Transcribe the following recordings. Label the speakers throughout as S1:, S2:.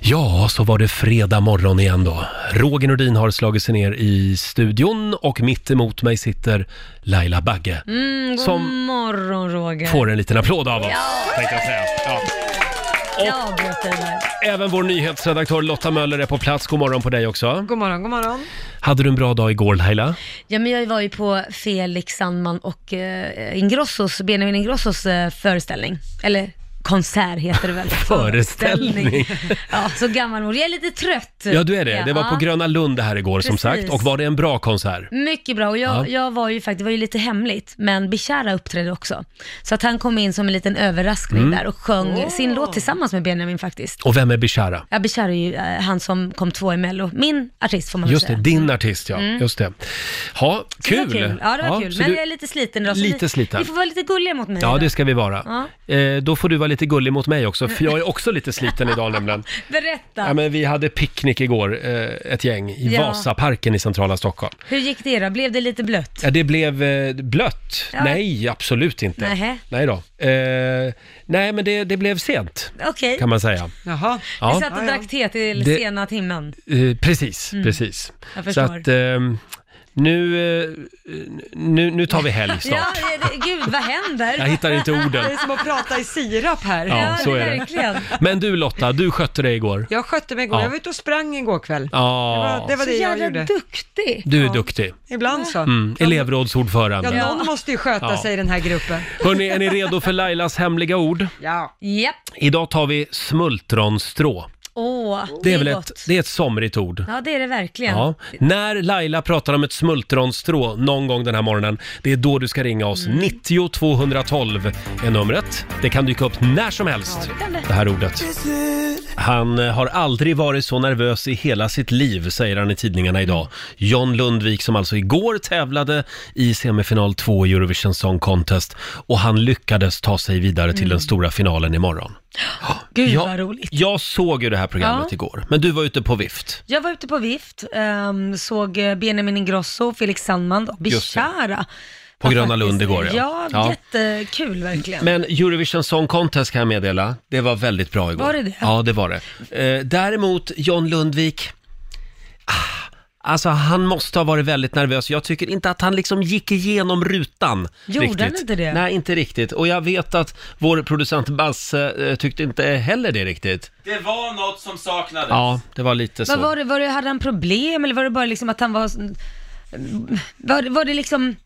S1: Ja, så var det fredag morgon igen då. Roger Nordin har slagit sig ner i studion och mitt emot mig sitter Laila Bagge.
S2: Mm, god
S1: Som-
S2: morgon Roger.
S1: Får en liten applåd av oss, tänkte jag säga. Ja.
S2: Jag avbröt dig där.
S1: Även vår nyhetsredaktör Lotta Möller är på plats. God morgon på dig också.
S3: God morgon, god morgon.
S1: Hade du en bra dag igår Laila?
S2: Ja, men jag var ju på Felix Sandman och eh, Ingrossos, Benjamin Ingrossos eh, föreställning. Eller konsert heter det väl?
S1: Föreställning.
S2: ja, så gammalmodig. Jag är lite trött.
S1: Ja, du är det. Det var på
S2: Ja.
S1: Gröna Lund det här igår som
S2: Precis.
S1: sagt. Och var det en bra konsert?
S2: Mycket bra och jag,
S1: Ja.
S2: jag var ju faktiskt, det var ju lite hemligt, men Bishara uppträdde också. Så att han kom in som en liten överraskning
S1: Mm.
S2: där och sjöng
S3: Åh.
S2: sin låt tillsammans med Benjamin faktiskt.
S1: Och vem är Bishara?
S2: Ja, Bishara är ju eh, han som kom två i Mello. Min artist får man väl
S1: Just det,
S2: säga.
S1: din artist ja.
S2: Mm.
S1: Just det. Ha,
S2: Så det var
S1: kul!
S2: Ja, det var kul.
S1: så
S2: Men
S1: du-
S2: jag är lite sliten idag. så
S1: Lite
S2: ni-
S1: sliten.
S2: Ni får vara lite gulliga mot mig
S1: Ja,
S2: idag.
S1: det ska vi vara.
S2: ja.
S1: Eh, då får du vara lite gullig mot mig också, för jag är också lite sliten idag nämligen.
S2: Berätta,
S1: Ja, men vi hade picknick igår, eh, ett gäng, i
S2: Ja.
S1: Vasaparken i centrala Stockholm.
S2: hur gick det då? Blev det lite blött?
S1: Ja, det blev eh, blött.
S2: Ja.
S1: Nej, absolut inte.
S2: Nähä.
S1: Nej då. Eh, nej, men det, det blev sent,
S2: Okej.
S1: kan man säga.
S3: Jaha.
S1: Ja.
S2: Vi satt och drack te till
S1: Det-
S2: sena timmen.
S1: Eh, precis,
S2: Mm.
S1: precis.
S2: Jag
S1: Så
S2: förstår.
S1: att eh, nu, eh, nu, nu tar vi helg snart.
S2: Ja, det, det, gud vad händer?
S1: Jag hittar inte orden.
S3: Det är som att prata i sirap här.
S1: Ja,
S2: Ja,
S1: så är det.
S2: verkligen.
S1: Men du Lotta, du skötte dig igår.
S3: Jag skötte mig igår,
S1: Ja.
S3: jag var ute och sprang igår kväll. Det
S1: Ja,
S3: var det, var
S2: Så
S3: det jag
S2: jävla
S3: gjorde.
S2: duktig.
S1: du är duktig.
S3: Ibland så.
S1: Mm,
S3: Ja,
S1: elevrådsordförande.
S3: någon måste ju sköta
S1: Ja.
S3: sig i den här gruppen.
S1: Hörni, är ni redo för Lailas hemliga ord?
S3: Ja.
S2: Japp.
S1: Idag tar vi smultronstrå.
S2: Åh,
S1: Det är väl
S2: gott.
S1: ett, det är ett somrigt ord.
S2: Ja, det är det verkligen.
S1: Ja. När Laila pratar om ett smultronstrå någon gång den här morgonen, det är då du ska ringa oss. 90 212 är numret. Det kan dyka upp när som
S2: Ja,
S1: helst,
S2: det kan det.
S1: det här ordet. Han eh, har aldrig varit så nervös i hela sitt liv, säger han i tidningarna idag. John Lundvik som alltså igår tävlade i semifinal 2 i Eurovision Song Contest och han lyckades ta sig vidare till den stora finalen imorgon.
S2: Mm. Gud
S1: Ja.
S2: vad roligt.
S1: Jag såg ju det här programmet
S2: Ja.
S1: igår, men du var ute på vift.
S2: Jag var ute på vift, ehm, såg eh, Benjamin Ingrosso, Felix Sandman och
S1: Just det.
S2: Bishara.
S1: På
S2: Ja,
S1: Gröna
S2: faktiskt.
S1: Lund igår, ja.
S2: Ja,
S1: Ja.
S2: jättekul verkligen.
S1: Men Eurovision Song Contest kan jag meddela, det var väldigt bra igår.
S2: Var det det?
S1: Ja, det var det. Eh, däremot John Lundvik, ah, Alltså han måste ha varit väldigt nervös. Jag tycker inte att han liksom gick igenom rutan.
S2: Gjorde
S1: riktigt.
S2: han inte det?
S1: Nej, inte riktigt. Och jag vet att vår producent Basse eh, tyckte inte heller det riktigt.
S4: Det var något som saknades.
S1: Ja, det var lite så.
S2: Vad var det, var det, hade han problem eller var det bara liksom att han var... Var, var det liksom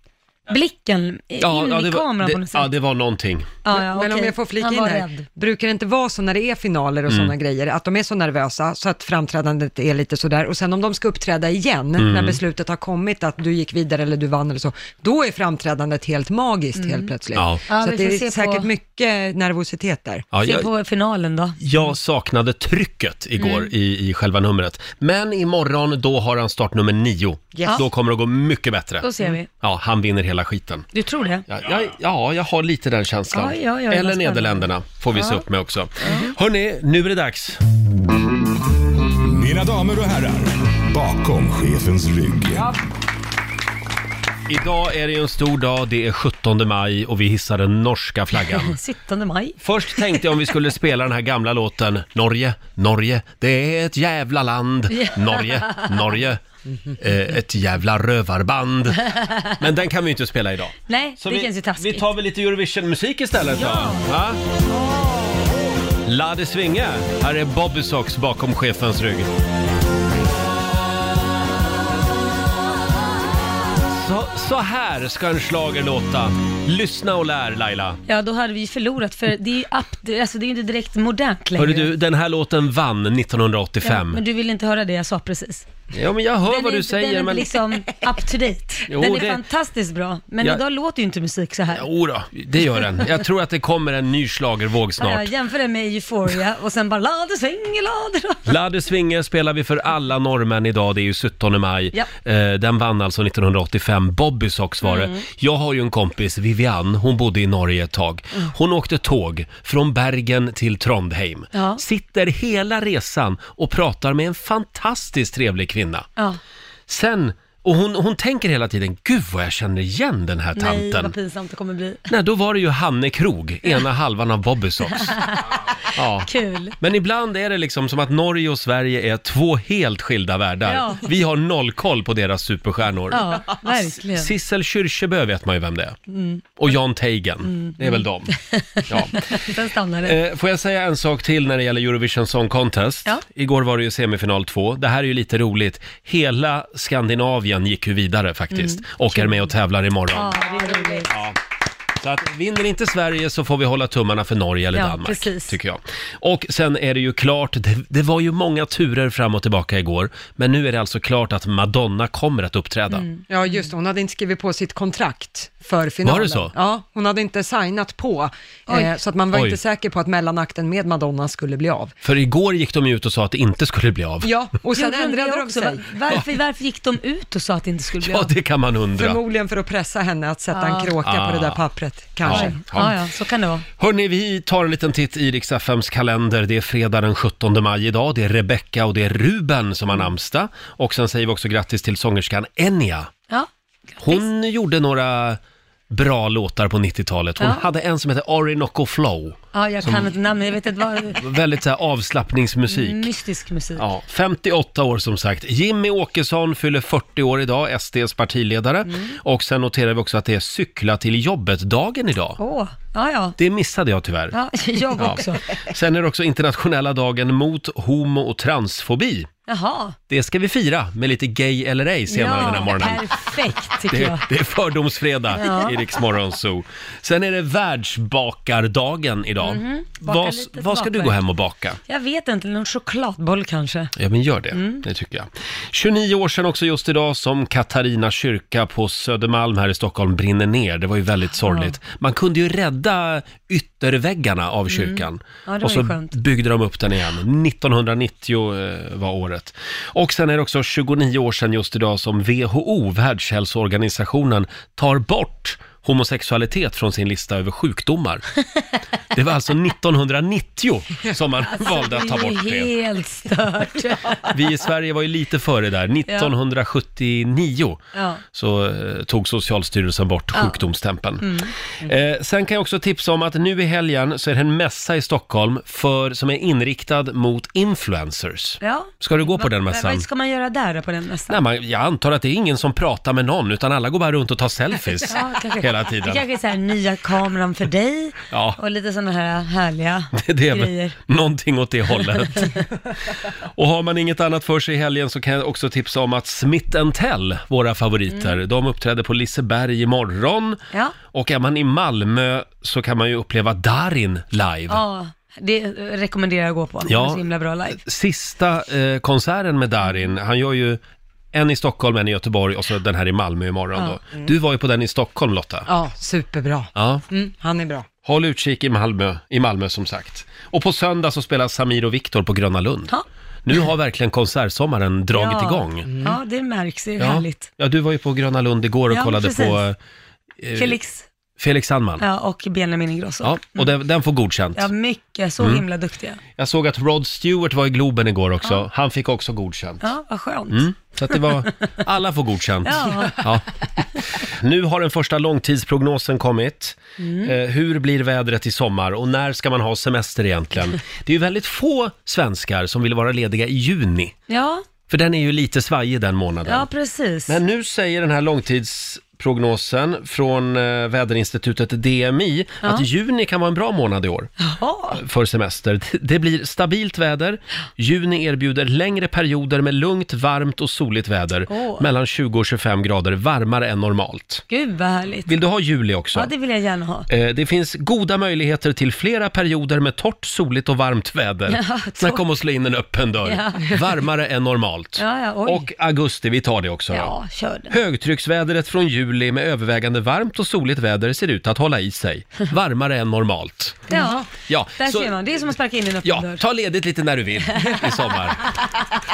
S2: blicken i- in i kameran
S1: det,
S2: på något sätt?
S1: ja, det var någonting.
S2: ja, ja,
S3: Men om
S2: okej.
S3: jag får flika
S2: han
S3: in
S2: var
S3: här,
S2: Rädd.
S3: brukar det inte vara så när det är finaler och
S1: Mm.
S3: sådana grejer, att de är så nervösa så att framträdandet är lite sådär och sen om de ska uppträda igen när
S1: Mm.
S3: beslutet har kommit att du gick vidare eller du vann eller så, då är framträdandet helt magiskt helt plötsligt.
S1: Ja.
S2: Mm. Ja,
S3: Så
S2: vi
S3: att det
S2: får
S3: är
S2: se på-
S3: säkert mycket nervositet där.
S1: Ja,
S2: Se
S1: jag-
S2: på finalen då.
S1: Jag saknade trycket igår
S2: Mm.
S1: i, i själva numret. Men imorgon, då har han startnummer nio.
S3: Yes.
S1: Då kommer det gå mycket bättre. Mm.
S2: Då ser vi.
S1: Ja, han vinner hela skiten.
S2: Du tror det?
S1: Ja, ja, ja jag har lite den känslan.
S2: Ja, ja, ja, vad
S1: Eller
S2: spännande. Mm.
S1: Nederländerna får vi se upp med också. Hörni, nu är det dags.
S5: Mina damer och herrar, bakom chefens rygg.
S1: Idag är det ju en stor dag, det är 17 maj och vi hissar den norska flaggan.
S2: 17 maj.
S1: Först tänkte jag om vi skulle spela den här gamla låten Norge, Norge, det är ett jävla land. Norge, Norge, eh, ett jävla rövarband. Men den kan vi ju inte spela idag.
S2: Nej,
S1: Så
S2: det
S1: vi,
S2: känns ju taskigt.
S1: Vi tar väl lite Eurovision-musik istället då? Va? Lade svinga. Här är Bobby Sox bakom chefens rygg. Så, så här ska en schlager låta. Lyssna och lär Laila.
S2: Ja, då hade vi ju förlorat för det är ju up, det- alltså, det är ju inte direkt modernt längre.
S1: Hörru du, den här låten vann
S2: ja,
S1: 1985. Ja,
S2: men
S1: men,
S2: du vill inte höra det jag sa precis.
S1: jag hör
S2: är
S1: vad du
S2: inte,
S1: säger
S2: den är
S1: men...
S2: inte liksom up to date.
S1: Jo,
S2: den är
S1: det-
S2: fantastiskt bra, men
S1: Ja.
S2: idag låter ju inte musik så här.
S1: Jo då, det gör den. Jag tror att det kommer en ny schlagervåg snart.
S2: Ja, jag jämför den med Euphoria och sen bara lader svänger, lader
S1: Ladde Svinge spelar vi för alla norrmän idag, det är ju 17 maj.
S2: Ja. Mm.
S1: Eh, den vann alltså 1985, Bobby Sox var det. Jag har ju en kompis, Vivian, hon bodde i Norge ett tag.
S2: Mm.
S1: Hon åkte tåg från Bergen till Trondheim.
S2: Ja.
S1: Sitter hela resan och pratar med en fantastiskt trevlig kvinna.
S2: Ja,
S1: Sen Och hon, hon tänker hela tiden, gud vad jag känner igen den här
S2: Nej,
S1: tanten.
S2: vad pinsamt det kommer bli.
S1: Nej, då var det ju Hanne Krog, ena halvan av Bobbysocks. Ja.
S2: Kul.
S1: Men ibland är det liksom som att Norge och Sverige är två helt skilda världar.
S2: Ja.
S1: Vi har noll koll på deras superstjärnor.
S2: Ja, verkligen.
S1: Sissel Kyrkjebø vet man ju vem det är.
S2: Mm.
S1: Och Jan Teigen, det är väl dem. Ja.
S2: Sen stannar det.
S1: Eh, får jag säga en sak till när det gäller Eurovision Song Contest?
S2: Ja.
S1: Igår var det ju semifinal 2. Det här är ju lite roligt. Hela Skandinavien gick ju vidare faktiskt och är med och tävlar imorgon.
S2: Mm. Ja, det är roligt.
S1: Så att vinner inte Sverige så får vi hålla tummarna för Norge eller
S2: Ja,
S1: Danmark,
S2: precis.
S1: tycker jag. Och sen är det ju klart, det, det var ju många turer fram och tillbaka igår, men nu är det alltså klart att Madonna kommer att uppträda.
S2: Mm.
S3: Ja, just det. Hon hade inte skrivit på sitt kontrakt för finalen.
S1: Var det så?
S3: Ja, hon hade inte signat på. Eh, så att man var
S1: Oj.
S3: inte säker på att mellanakten med Madonna skulle bli av.
S1: För igår gick de ju ut och sa att det inte skulle bli av.
S3: Ja, och sen
S2: Jag undrar
S3: ändrade
S2: det
S3: de
S2: också.
S3: sig.
S2: Varför, varför gick de ut och sa att det inte skulle bli
S1: Ja,
S2: av?
S1: det kan man undra.
S3: Förmodligen för att pressa henne att sätta en kråka
S1: Ah.
S3: på det där pappret, kanske.
S2: Ja, ja, så kan det vara.
S1: Hörni, vi tar en liten titt i Rix FMs kalender. Det är fredag den 17 maj idag. Det är Rebecca och det är Ruben som har namnsdag. Och sen säger vi också grattis till sångerskan Enya.
S2: Ja.
S1: Hon gjorde några bra låtar på 90-talet. Hon
S2: Ja.
S1: hade en som hette Orinoco Flow.
S2: ja, jag kan inte namnet. Jag vet inte vad...
S1: Väldigt så här avslappningsmusik.
S2: Mystisk musik.
S1: Ja, 58 år som sagt. Jimmy Åkesson fyller 40 år idag, SDs partiledare.
S2: Mm.
S1: Och sen noterar vi också att det är cykla till jobbet-dagen idag.
S2: Åh, ja, ja.
S1: Det missade jag tyvärr.
S2: Ja, jag också.
S1: Sen är det också internationella dagen mot homo och transfobi.
S2: Jaha.
S1: Det ska vi fira med lite gay eller ej senare den här morgonen.
S2: perfekt tycker
S1: Det,
S2: jag.
S1: det är fördomsfredag
S2: Ja.
S1: i Rix Morgon Zoo. Sen är det världsbakardagen idag.
S2: Mhm. Baka
S1: Vad,
S2: lite
S1: vad ska du gå
S2: bakverk.
S1: hem och baka?
S2: Jag vet inte, någon chokladboll kanske.
S1: Ja, men gör det.
S2: Mm.
S1: Det tycker jag. 29 år sedan också just idag som Katarina kyrka på Södermalm här i Stockholm brinner ner. Det var ju väldigt sorgligt. Man kunde ju rädda ytterväggarna av kyrkan.
S2: Mm. Ja, det var
S1: och så
S2: ju skönt.
S1: byggde de upp den igen. 1990 eh, var året. Och sen är det också 29 år sedan just idag som WHO, Världshälsoorganisationen, tar bort homosexualitet från sin lista över sjukdomar. Det var alltså 1990 som man valde att ta bort
S2: Alltså, Det
S1: det.
S2: är ju helt stört.
S1: Vi i Sverige var ju lite före där. 1979
S2: Ja.
S1: så eh, tog Socialstyrelsen bort sjukdomstämpeln.
S2: Mm.
S1: Eh, sen kan jag också tipsa om att nu i helgen så är det en mässa i Stockholm för, som är inriktad mot influencers.
S2: Ja.
S1: Ska du gå på
S2: Vad-
S1: den
S2: Vad
S1: mässan?
S2: ska man göra där då på den mässan?
S1: Nej, man, jag antar att det är ingen som pratar med någon utan alla går bara runt och tar selfies
S2: Ja, kanske.
S1: hela
S2: Det
S1: tiden.
S2: kanske är så här nya kameran för dig
S1: Ja.
S2: och lite sådana här härliga
S1: Det är väl
S2: grejer.
S1: någonting åt det hållet. och har man inget annat för sig i helgen så kan jag också tipsa om att Smith Tell, våra favoriter, de uppträder på Liseberg imorgon.
S2: Ja.
S1: Och är man i Malmö så kan man ju uppleva Darin live.
S2: Ja, det rekommenderar jag att gå på. Ja. Det är så himla bra live.
S1: Sista eh, konserten med Darin, han gör ju en i Stockholm, en i Göteborg och så den här i Malmö imorgon då. Du var ju på den i Stockholm Lotta.
S3: Ja, superbra.
S1: Ja.
S3: Mm, han är bra.
S1: Håll utkik i Malmö, i Malmö som sagt. Och på söndag så spelar Samir och Viktor på Gröna Lund.
S2: Ja.
S1: Nu har verkligen konsertsommaren dragit
S2: ja. Mm.
S1: igång.
S2: Ja, det märks. Det är
S1: Ja.
S2: härligt.
S1: ja, du var ju på Gröna Lund igår och
S2: Ja,
S1: kollade
S2: precis.
S1: på eh,
S2: Felix
S1: Felix Sandman. Ja.
S2: ja, och Benjamin Ingrosso. Mm.
S1: och Mm. den, den får godkänt.
S2: Ja, mycket. Så himla duktiga.
S1: Jag såg att Rod Stewart var i Globen igår också. Han fick också godkänt. Mm.
S2: Ja, vad skönt.
S1: Så att det var, alla får godkänt.
S2: Ja.
S1: Nu har den första långtidsprognosen kommit.
S2: Mm.
S1: Eh, hur blir vädret i sommar och när ska man ha semester egentligen? Det är ju väldigt få svenskar som vill vara lediga i juni.
S2: Ja,
S1: För den är ju lite svajig den månaden.
S2: ja precis.
S1: Men nu säger den här långtidsprognosen från eh, väderinstitutet DMI att juni kan vara en bra månad i år
S2: Ja.
S1: för semester. Det blir stabilt väder. Juni erbjuder längre perioder med lugnt, varmt och soligt väder.
S2: Åh.
S1: Mellan 20 och 25 grader varmare än normalt.
S2: Gud vad härligt.
S1: Vill du ha juli också?
S2: Ja, det vill jag gärna ha.
S1: Eh, Det finns goda möjligheter till flera perioder med torrt, soligt och varmt väder.
S2: Ja,
S1: Snacka om att slå in en öppen dörr.
S2: Ja.
S1: Varmare än normalt.
S2: Ja, ja, oj.
S1: och augusti, vi tar det också. då.
S2: Ja, kör den.
S1: Högtrycksvädret från juli med övervägande varmt och soligt väder ser ut att hålla i sig. Varmare än normalt.
S2: Ja,
S1: Ja,
S2: där
S1: så-
S2: ser man. Det är som att sparka in i en öppen
S1: Ja,
S2: dörr.
S1: ta ledigt lite när du vill i sommar.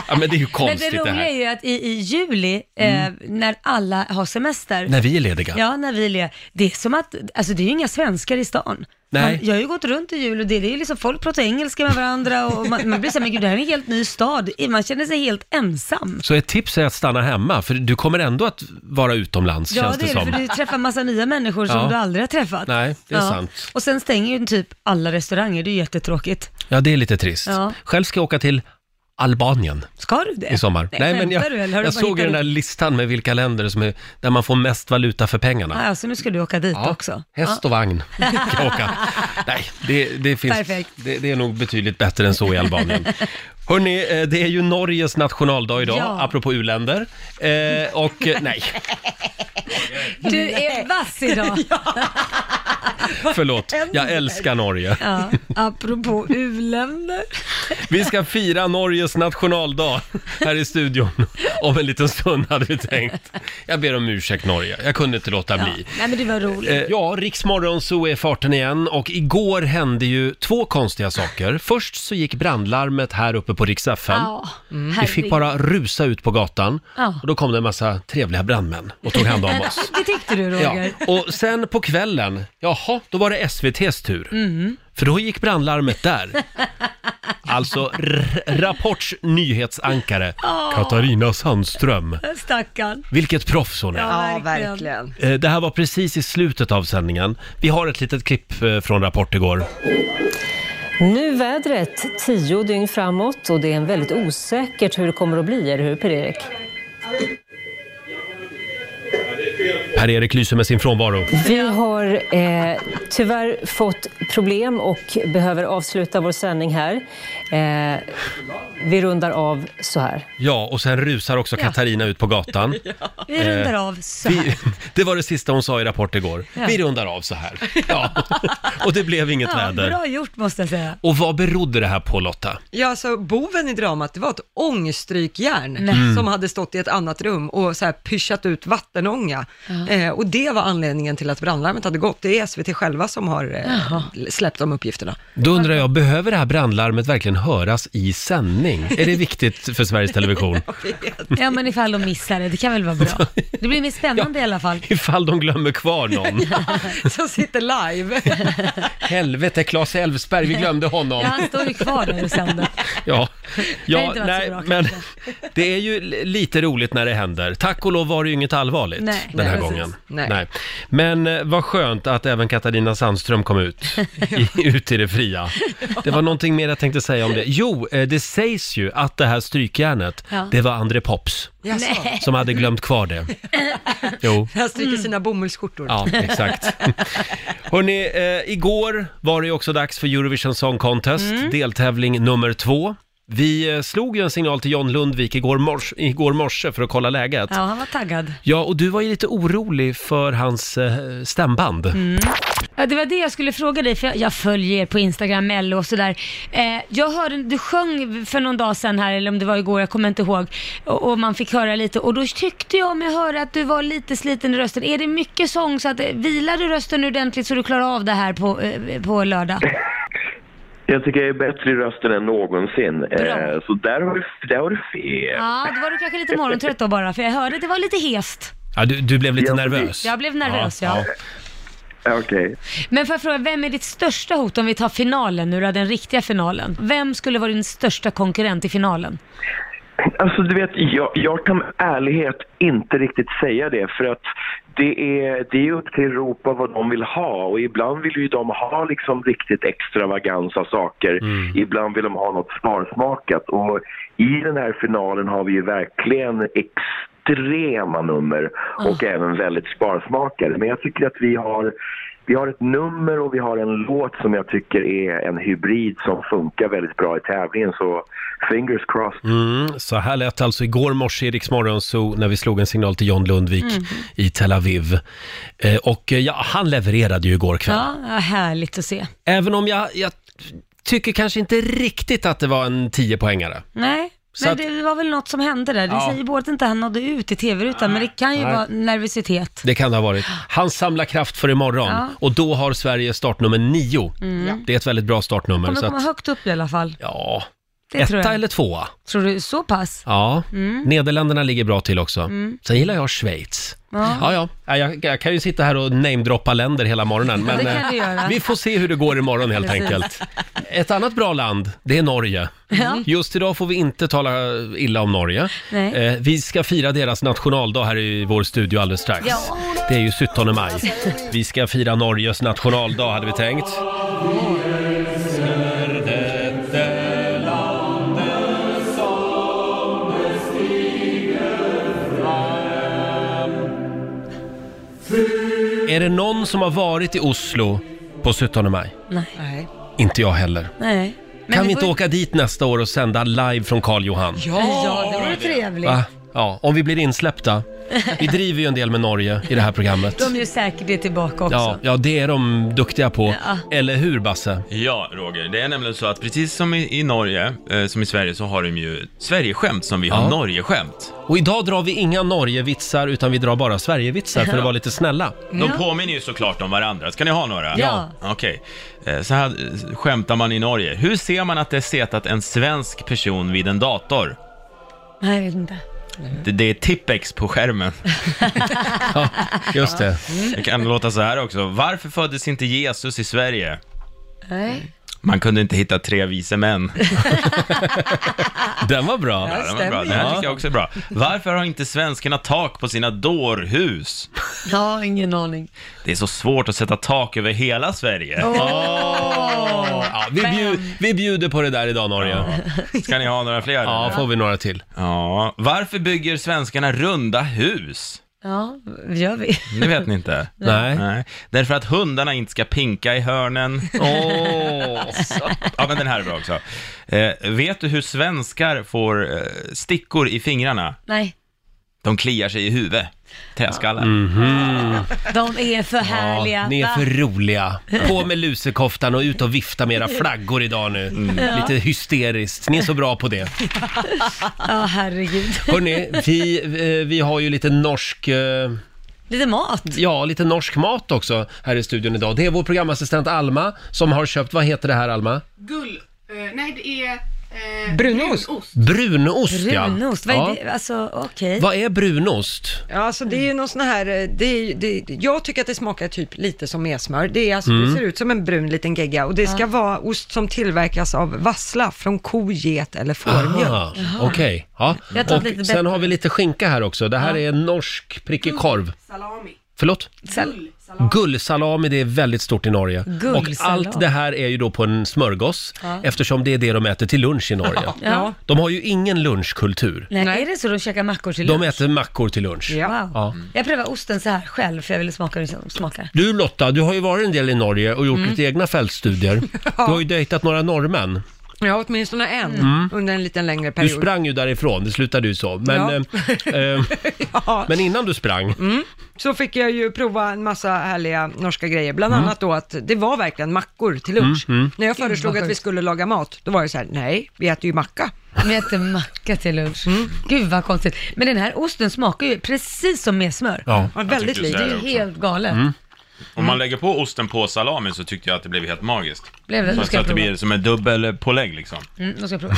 S1: Ja, men det är ju
S2: Men
S1: konstigt
S2: det
S1: det,
S2: roliga är
S1: här. Mm.
S2: ju att i, i juli, eh, när alla har semester,
S1: När vi är lediga.
S2: Ja, när vi ler. Det är som att, alltså det är ju inga svenskar i stan.
S1: Nej.
S2: Man, jag har ju gått runt i jul och det, det är ju liksom folk pratar engelska med varandra och man, man blir såhär, men gud det här är en helt ny stad. Man känner sig helt ensam.
S1: Så ett tips är att stanna hemma, för du kommer ändå att vara utomlands
S2: Ja
S1: känns
S2: det
S1: det
S2: är det,
S1: som.
S2: för du träffar massa nya människor som
S1: Ja.
S2: du aldrig har träffat.
S1: Nej, det är
S2: ja.
S1: sant.
S2: Och sen stänger ju typ alla restauranger, det är ju jättetråkigt.
S1: Ja, det är lite trist.
S2: Ja.
S1: Själv ska jag åka till Albanien
S2: Ska du det?
S1: i sommar.
S2: Nej,
S1: men jag,
S2: skämtar du, eller har du
S1: jag
S2: bara
S1: såg ju
S2: hittat
S1: den där
S2: upp-
S1: listan med vilka länder som är, där man får mest valuta för pengarna.
S2: Ah, alltså nu ska du åka dit också.
S1: Häst och vagn kan jag åka. Nej, det, det, finns,
S2: Perfekt.
S1: det, det är nog betydligt bättre än så i Albanien. Hörni, det är ju Norges nationaldag idag,
S2: Ja.
S1: apropå uländer. Eh, och eh, nej,
S2: Du är vass idag.
S1: förlåt. Jag älskar Norge.
S2: ja. Apropå u-länder.
S1: Vi ska fira Norges nationaldag här i studion om en liten stund hade vi tänkt. Jag ber om ursäkt Norge, jag kunde inte låta
S2: Ja.
S1: bli.
S2: Nej men det var roligt.
S1: Eh, Ja, Riksmorgon så är farten igen och igår hände ju två konstiga saker. Först så gick brandlarmet här uppe på Rix FM.
S2: Ja,
S1: Mm. Vi
S2: herregud.
S1: fick bara rusa ut på gatan
S2: Ja.
S1: och då kom det en massa trevliga brandmän och tog hand om oss.
S2: Det tyckte du
S1: Ja.
S2: Roger?
S1: Och sen på kvällen, jaha, då var det SVTs tur.
S2: Mm.
S1: För då gick brandlarmet där. Alltså r- Rapports nyhetsankare Katarina Sandström.
S2: Stackarn.
S1: Vilket proffs hon är.
S3: Ja,
S2: verkligen.
S3: verkligen.
S1: Eh, Det här var precis i slutet av sändningen. Vi har ett litet klipp eh, från Rapport igår.
S6: Nu vädret, tio dygn framåt och det är en väldigt osäkert hur det kommer att bli, eller hur Per-Erik?
S1: Per-Erik lyser med sin frånvaro.
S6: Vi har eh, tyvärr fått problem och behöver avsluta vår sändning här. Eh, vi rundar av så här.
S1: Ja, och sen rusar också Katarina ut på gatan. Eh,
S2: Vi rundar av så här.
S1: Vi, det var det sista hon sa i Rapport igår. Vi rundar av så här. Ja. Och det blev inget
S2: Ja,
S1: väder.
S2: bra gjort måste jag säga.
S1: Och vad berodde det här på Lotta?
S3: Ja, så boven i dramat, det var ett ångstrykjärn
S1: Mm.
S3: som hade stått i ett annat rum och så här pyschat ut vattenånga. Eh, och det var anledningen till att brandlarmet hade gått. Det är SVT själva som har eh, släppt de uppgifterna.
S1: Då undrar jag, behöver det här brandlarmet verkligen höras i sändning? Är det viktigt för Sveriges Television?
S2: Ja men ifall de missar det, det kan väl vara bra. Det blir mer spännande i alla fall.
S1: Ifall de glömmer kvar någon.
S3: Som sitter live.
S1: Helvete, Claes Elfsberg, vi glömde honom.
S2: Ja, han står ju kvar där och sänder.
S1: Ja,
S2: Det har
S1: ja
S2: inte varit så
S1: nej,
S2: bra,
S1: men
S2: kanske.
S1: det är ju li- lite roligt när det händer. Tack och lov var det ju inget allvarligt
S2: Nej,
S1: den här
S2: nej, precis.
S1: gången.
S3: Nej.
S1: Men eh, vad skönt att även Katarina Sandström kom ut, i, ut i det fria. Det var någonting mer jag tänkte säga om det. Jo, eh, det sägs ju att det här strykjärnet,
S2: Ja.
S1: det var André Pops
S3: Jaså,
S1: som hade glömt kvar det. Jo.
S3: han stryker sina bomullsskjortor.
S1: Ja, exakt. Hörrni, eh, igår var det ju också dags för Eurovision Song Contest, deltävling nummer två. Vi eh, slog ju en signal till John Lundvik igår, mors- igår morse för att kolla läget.
S2: Ja,
S1: Ja.
S2: han var taggad.
S1: och du var ju lite orolig för hans eh, stämband.
S2: Ja, det var det jag skulle fråga dig, för jag, jag följer er på Instagram, Mello och sådär. Eh, jag hörde, du sjöng för någon dag sedan här, eller om det var igår, jag kommer inte ihåg. Och, och man fick höra lite, och då tyckte jag mig höra att du var lite sliten i rösten. Är det mycket sång, så att eh, vilar du rösten ordentligt så du klarar av det här på, eh, på lördag?
S7: Jag tycker jag är bättre i rösten än någonsin. Eh, så där har du, där har du fel.
S2: Ja, då var du kanske lite morgontrött då bara, för jag hörde att det var lite hest.
S1: Ja, du, du blev lite
S7: Ja,
S1: nervös.
S2: Jag blev nervös, ja.
S7: Ja, Okej.
S2: Men får jag fråga, vem är ditt största hot om vi tar finalen nu då, den riktiga finalen? Vem skulle vara din största konkurrent i finalen?
S7: Alltså du vet, jag, jag kan med ärlighet inte riktigt säga det för att det är, det är upp till Europa vad de vill ha och ibland vill ju de ha liksom riktigt extravaganta saker. Ibland vill de ha något sparsmakat och i den här finalen har vi ju verkligen extrema nummer och även väldigt sparsmakade. Men jag tycker att vi har vi har ett nummer och vi har en låt som jag tycker är en hybrid som funkar väldigt bra i tävlingen så fingers crossed.
S1: Mm, så här lät det alltså igår morse i Rix Morgon Zoo när vi slog en signal till John Lundvik i Tel Aviv. Eh, och eh, ja, han levererade ju igår kväll.
S2: Ja, ja, härligt att se.
S1: Även om jag, jag tycker kanske inte riktigt att det var en 10-poängare.
S2: Nej,
S1: Så
S2: men
S1: att-
S2: det var väl något som hände där. Du
S1: Ja.
S2: säger både att inte han nådde ut i tv-rutan, men det kan ju
S1: Nej.
S2: vara nervositet.
S1: Det kan det ha varit. Han samlar kraft för imorgon
S2: Ja.
S1: och då har Sverige startnummer 9. Det är ett väldigt bra startnummer.
S2: Mm. Kommer
S1: Så
S2: komma
S1: att,
S2: högt upp i alla fall.
S1: ja,
S2: Det tror
S1: Etta
S2: jag.
S1: eller tvåa?
S2: Tror du så pass?
S1: Ja,
S2: Mm.
S1: Nederländerna ligger bra till också.
S2: Mm.
S1: Sen gillar jag Schweiz.
S2: Ja.
S1: Ja, ja. ja jag, jag kan ju sitta här och namedroppa länder hela morgonen.
S2: Ja,
S1: Men
S2: det kan
S1: eh,
S2: du göra.
S1: vi får se hur det går imorgon helt
S2: Precis.
S1: enkelt. Ett annat bra land, det är Norge.
S2: Ja.
S1: Just idag får vi inte tala illa om Norge.
S2: Nej.
S1: Eh, vi ska fira deras nationaldag här i vår studio alldeles strax.
S2: Ja.
S1: Det är ju 17 maj. Vi ska fira Norges nationaldag hade vi tänkt. Är det någon som har varit i Oslo på 17 maj?
S2: Nej.
S3: Nej.
S1: Inte jag heller.
S2: Nej. Men
S1: kan
S2: det
S1: vi inte
S2: går-
S1: åka dit nästa år och sända live från Karl Johan?
S2: Ja, det vore trevligt.
S1: Va? Ja, om vi blir insläppta. Vi driver ju en del med Norge i det här programmet.
S2: De är ju säkert det tillbaka också.
S1: Ja, ja, det är de duktiga på.
S2: Ja.
S1: Eller hur, Basse?
S4: Ja, Roger. Det är nämligen så att precis som i, i Norge, eh, som i Sverige, så har de ju Sverigeskämt som vi
S1: Ja.
S4: har Norgeskämt.
S1: Och idag drar vi inga Norge-vitsar, utan vi drar bara Sverige-vitsar för att vara lite snälla.
S4: De påminner ju såklart om varandra. Ska ni ha några?
S2: Ja.
S4: Okej. Eh, Så här eh, skämtar man i Norge. Hur ser man att det setat en svensk person vid en dator?
S2: Nej, jag vet inte.
S4: Det, det är Tippex på skärmen.
S1: Ja, just det.
S4: Det kan låta så här också. Varför föddes inte Jesus i Sverige?
S2: Nej.
S4: Man kunde inte hitta tre vise män.
S1: Den var bra.
S4: Ja, den var bra. Den här tycker jag också är bra. Varför har inte svenskarna tak på sina dårhus?
S2: Ja, ingen aning.
S4: Det är så svårt att sätta tak över hela Sverige.
S1: Åh! Ja, vi, bjud, vi bjuder på det där idag, Norge.
S4: Ska ni ha några fler?
S1: Ja, får vi några till.
S4: ja. Varför bygger svenskarna runda hus?
S2: Ja, det gör vi.
S4: Det vet ni inte.
S1: Nej.
S4: Nej. Därför att hundarna inte ska pinka i hörnen.
S1: Åh!
S4: Ja, men den här är bra också. Eh, vet du hur svenskar får eh, stickor i fingrarna?
S2: Nej,
S4: De kliar sig i huvudet. Träskallar.
S1: Mm.
S2: de är för härliga.
S1: Ja, ni är
S2: va?
S1: för roliga. På med lusekoftan och ut och vifta med era flaggor idag nu.
S2: Mm.
S1: Lite hysteriskt. Ni är så bra på det.
S2: Ja, herregud.
S1: Hörni, vi, eh, vi har ju lite norsk, eh,
S2: Lite mat.
S1: ja, lite norsk mat också här i studion idag. Det är vår programassistent Alma som har köpt, vad heter det här Alma?
S8: Gull... eh, nej, det är... eh,
S3: Brunost.
S8: brunost.
S1: Brunost, ja.
S2: Brunost, vad är
S1: Ja.
S2: det? Alltså, okej.
S1: Vad är brunost?
S3: Ja, alltså det är ju någon sån här, eh, det är, ju- det, jag tycker att det smakar typ lite som messmör. Det, är, alltså,
S1: Mm.
S3: det ser ut som en brun liten gegga och det ska vara ost som tillverkas av vassla från ko, get eller fårmjölk.
S1: Ah, Okej. Ja.
S2: Jag tar lite
S1: Och sen
S2: bättre.
S1: har vi lite skinka här också. Det här är norsk prickig korv.
S8: Salami.
S1: Förlåt?
S2: Sal-
S1: Gullsalami, det är väldigt stort i Norge. Och
S2: Gullsalami.
S1: allt det här är ju då på en smörgås, eftersom det är det de äter till lunch i Norge.
S2: ja.
S1: De har ju ingen lunchkultur.
S2: Nej, är det så de käkar mackor till
S1: De
S2: lunch?
S1: äter mackor till lunch.
S3: Ja.
S2: Wow.
S1: Ja.
S2: Jag provar osten så här själv för jag ville smaka hur den smakar.
S1: Du Lotta, du har ju varit en del i Norge och gjort
S2: Mm.
S1: lite egna fältstudier. Du har ju dejtat några norrmän.
S3: Ja, åtminstone en under en liten längre
S1: Mm. Du
S3: period.
S1: sprang ju därifrån, det slutade ju så. Men, eh, eh,
S3: Ja.
S1: men innan du sprang,
S3: Mm. så fick jag ju prova en massa härliga norska grejer, bland
S1: Mm.
S3: annat då att det var verkligen mackor till lunch. När jag föreslog att vi skulle laga mat, då var det så här, nej, vi äter ju macka.
S2: De äter macka till lunch.
S1: Mm.
S2: Gud vad konstigt. Men den här osten smakar ju precis som med smör.
S1: ja. Mm.
S3: Ja,
S4: Jag
S3: väldigt
S4: tyckte
S3: likt.
S4: så
S2: Det
S4: här
S2: är ju
S4: också.
S2: helt galet.
S4: Om man lägger på osten på salamin så tyckte jag att det blev helt magiskt.
S2: Blev det?
S4: Så,
S2: Nu ska
S4: så
S2: jag
S4: att det
S2: prova.
S4: blir som en dubbelpålägg liksom.
S2: Mm, nu ska jag prova.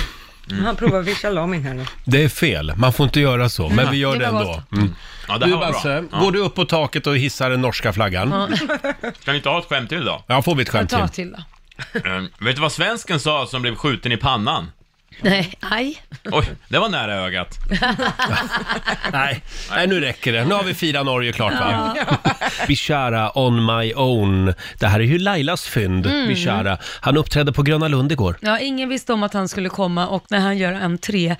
S9: Mm.
S3: Han provar vi salamin här nu.
S1: det är fel. Man får inte göra så, men vi gör
S2: Det
S1: det
S2: var
S1: ändå. Mm.
S4: Ja, det här
S1: Du
S4: var
S1: Basse,
S4: bra. Ja.
S1: går du upp på taket och hissar den norska flaggan?
S4: Kan ni inte ha ett skämt till då?
S1: Ja, får vi ett
S2: Jag
S1: skämt
S2: tar
S1: till?
S2: till då.
S4: Eh, vet du vad svensken sa som blev skjuten i pannan?
S2: Nej, aj.
S4: Oj, det var nära ögat.
S1: Nej. Nej, nu räcker det. Nu har vi fyra Norge klart va? Bishara on my own. Det här är ju Lailas fynd,
S2: Mm.
S1: Bishara. Han uppträdde på Gröna Lund igår.
S2: Ja, ingen visste om att han skulle komma och när han gör entré,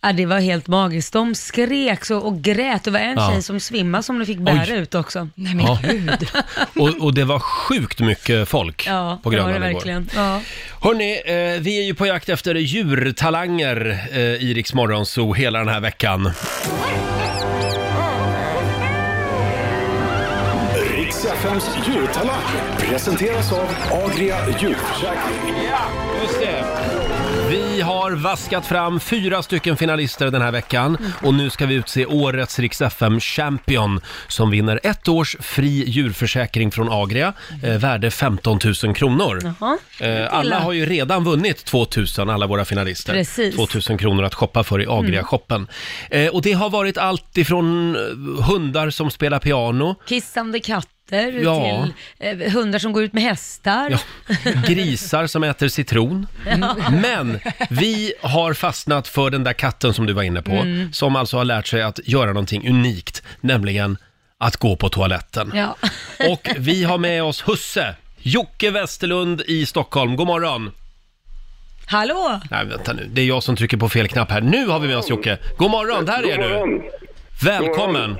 S2: ja, det var helt magiskt. De skrek så och grät. Det var en
S1: Ja.
S2: tjej som svimmade som de fick bära
S1: Oj.
S2: ut också.
S1: Ja. Och, och det var sjukt mycket folk
S2: Ja,
S1: på
S2: det var
S1: Gröna
S2: det
S1: Lund igår.
S2: verkligen. Ja.
S1: Hörni, eh, vi är ju på jakt efter djurtalanger eh, i Rix Morgon Zoo hela den här veckan.
S5: Riks FMs djurtalang presenteras av Agria djurförsäkring.
S1: Just det. Vi har vaskat fram fyra stycken finalister den här veckan
S2: Mm.
S1: och nu ska vi utse årets Rix FM Champion som vinner ett års fri djurförsäkring från Agria, eh, värde 15 000 kronor.
S2: Mm. Jaha.
S1: Eh, alla har ju redan vunnit 2000, alla våra finalister.
S2: Precis. Mm.
S1: 2000 kronor att shoppa för i Agria-shoppen. Eh, och det har varit allt ifrån eh, hundar som spelar piano,
S2: Kissande katter
S1: Ja.
S2: till eh, hundar som går ut med hästar.
S1: Ja, grisar som äter citron. Men vi har fastnat för den där katten som du var inne på,
S2: Mm.
S1: som alltså har lärt sig att göra någonting unikt, nämligen att gå på toaletten.
S2: Ja.
S1: Och vi har med oss husse, Jocke Westerlund i Stockholm. God morgon!
S2: Hallå!
S1: Nej, vänta nu. Det är jag som trycker på fel knapp här. Nu har vi med oss Jocke. God morgon, där är du! Välkommen!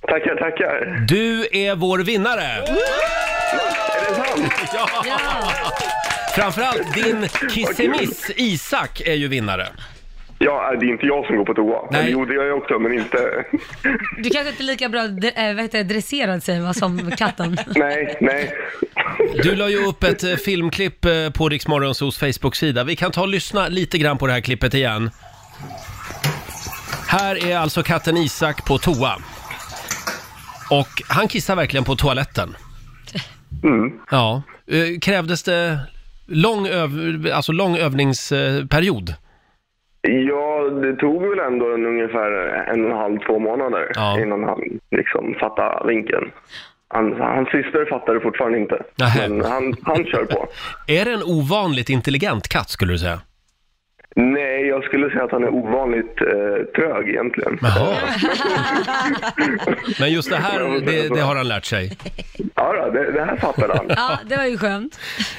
S7: Tackar, tackar.
S1: Du är vår vinnare!
S7: Är det sant?
S1: Ja.
S2: Ja.
S1: Framförallt din kissemiss Isak är ju vinnare.
S7: Ja, äh, det är inte jag som går på toa.
S1: Nej.
S7: Nej. Jo, det gör jag också, men inte...
S2: Du kanske inte är lika bra äh, vad heter, det, dresserad säger man, som katten.
S7: nej, nej.
S1: Du la ju upp ett eh, filmklipp eh, på Rix Morgonzoos Facebook-sida. Vi kan ta och lyssna lite grann på det här klippet igen. Här är alltså katten Isak på toa. Och han kissar verkligen på toaletten.
S7: Mm.
S1: Ja. Eh, Krävdes det lång, öv- alltså lång övningsperiod?
S7: Ja, det tog väl ändå en, ungefär en och en halv, två månader
S1: Ja.
S7: innan han liksom fattade vinken. Han, hans syster fattar det fortfarande inte,
S1: Nähä.
S7: men han, han kör på.
S1: Är det en ovanligt intelligent katt skulle du säga?
S7: Nej, jag skulle säga att han är ovanligt eh, trög egentligen. Eh,
S1: Jaha. Men just det här, det, det har han lärt sig.
S7: Ja, då, det, det här fattar han.
S2: Ja, det var ju skönt.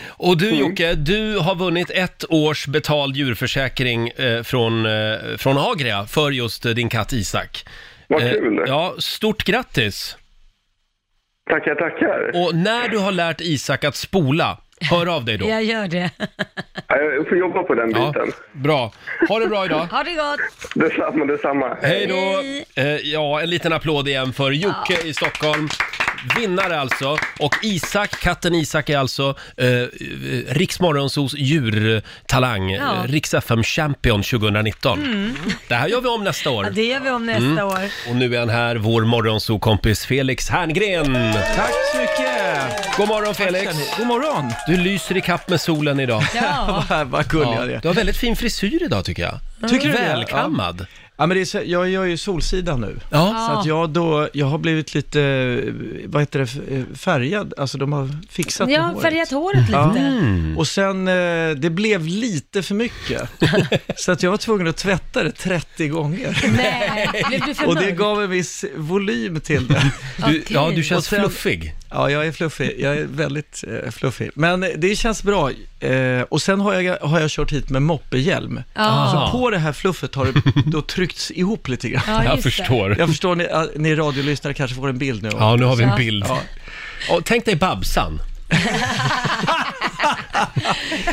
S1: Och du
S7: Mm.
S1: Jocke, du har vunnit ett års betald djurförsäkring eh, från, eh, från Agria för just eh, din katt Isak.
S7: Vad
S1: Eh,
S7: kul!
S1: ja, stort grattis!
S7: Tackar, tackar.
S1: Och när du har lärt Isak att spola, hör av dig då.
S2: Jag gör det.
S7: Ja, Jag får jobba på den
S1: Ja,
S7: biten.
S1: bra. Ha det bra idag.
S2: Ha det gott!
S7: Detsamma, detsamma.
S1: Hej då! Eh, ja, en liten applåd igen för Jocke i Stockholm. Vinnare alltså. Och Isak, katten Isak är alltså eh, Riksmorgonsos djurtalang.
S2: Ja. Mm.
S1: Ja. Riks FM Champion 2019. Det här gör vi om nästa år. Mm.
S2: Ja, det gör vi om nästa år.
S1: Och nu är han här, vår morgonsokompis Felix Herngren.
S9: Tack så mycket!
S1: God morgon Felix!
S9: God morgon!
S1: Du lyser i kapp med solen idag.
S2: Ja.
S9: Vad gullig
S1: Ja,
S9: jag är.
S1: du har väldigt fin frisyr idag tycker jag.
S9: Tycker du det?
S1: Välkammad.
S9: Ja. ja, men det är så, jag gör ju Solsida nu.
S1: Ja.
S9: Så att jag då, jag har blivit lite, eh, vad heter det, f- eh, färgad, alltså de har fixat
S2: Jag
S9: med
S2: har
S9: håret.
S2: färgat håret
S1: Mm.
S2: lite.
S9: Mm. Och sen, eh, det blev lite för mycket. så att jag var tvungen att tvätta det 30 gånger.
S2: Nej, blev du för
S9: Och det
S2: mörk?
S9: gav en viss volym till det.
S1: Du, ja, du
S2: Okej.
S1: känns
S9: Och sen-
S1: fluffig.
S9: Ja, jag är fluffig. Jag är väldigt eh, fluffig. Men det känns bra. Eh, och sen har jag, har jag kört hit med moppehjälm.
S2: Ja.
S9: Så på det här fluffet har det då tryckts ihop lite grann.
S2: Ja,
S1: Jag
S2: just det.
S1: förstår.
S9: Jag förstår, ni, att ni radiolyssnare kanske får en bild nu.
S1: Ja, nu har vi en
S2: Ja.
S1: bild.
S9: Ja.
S1: Och tänk dig Babsan.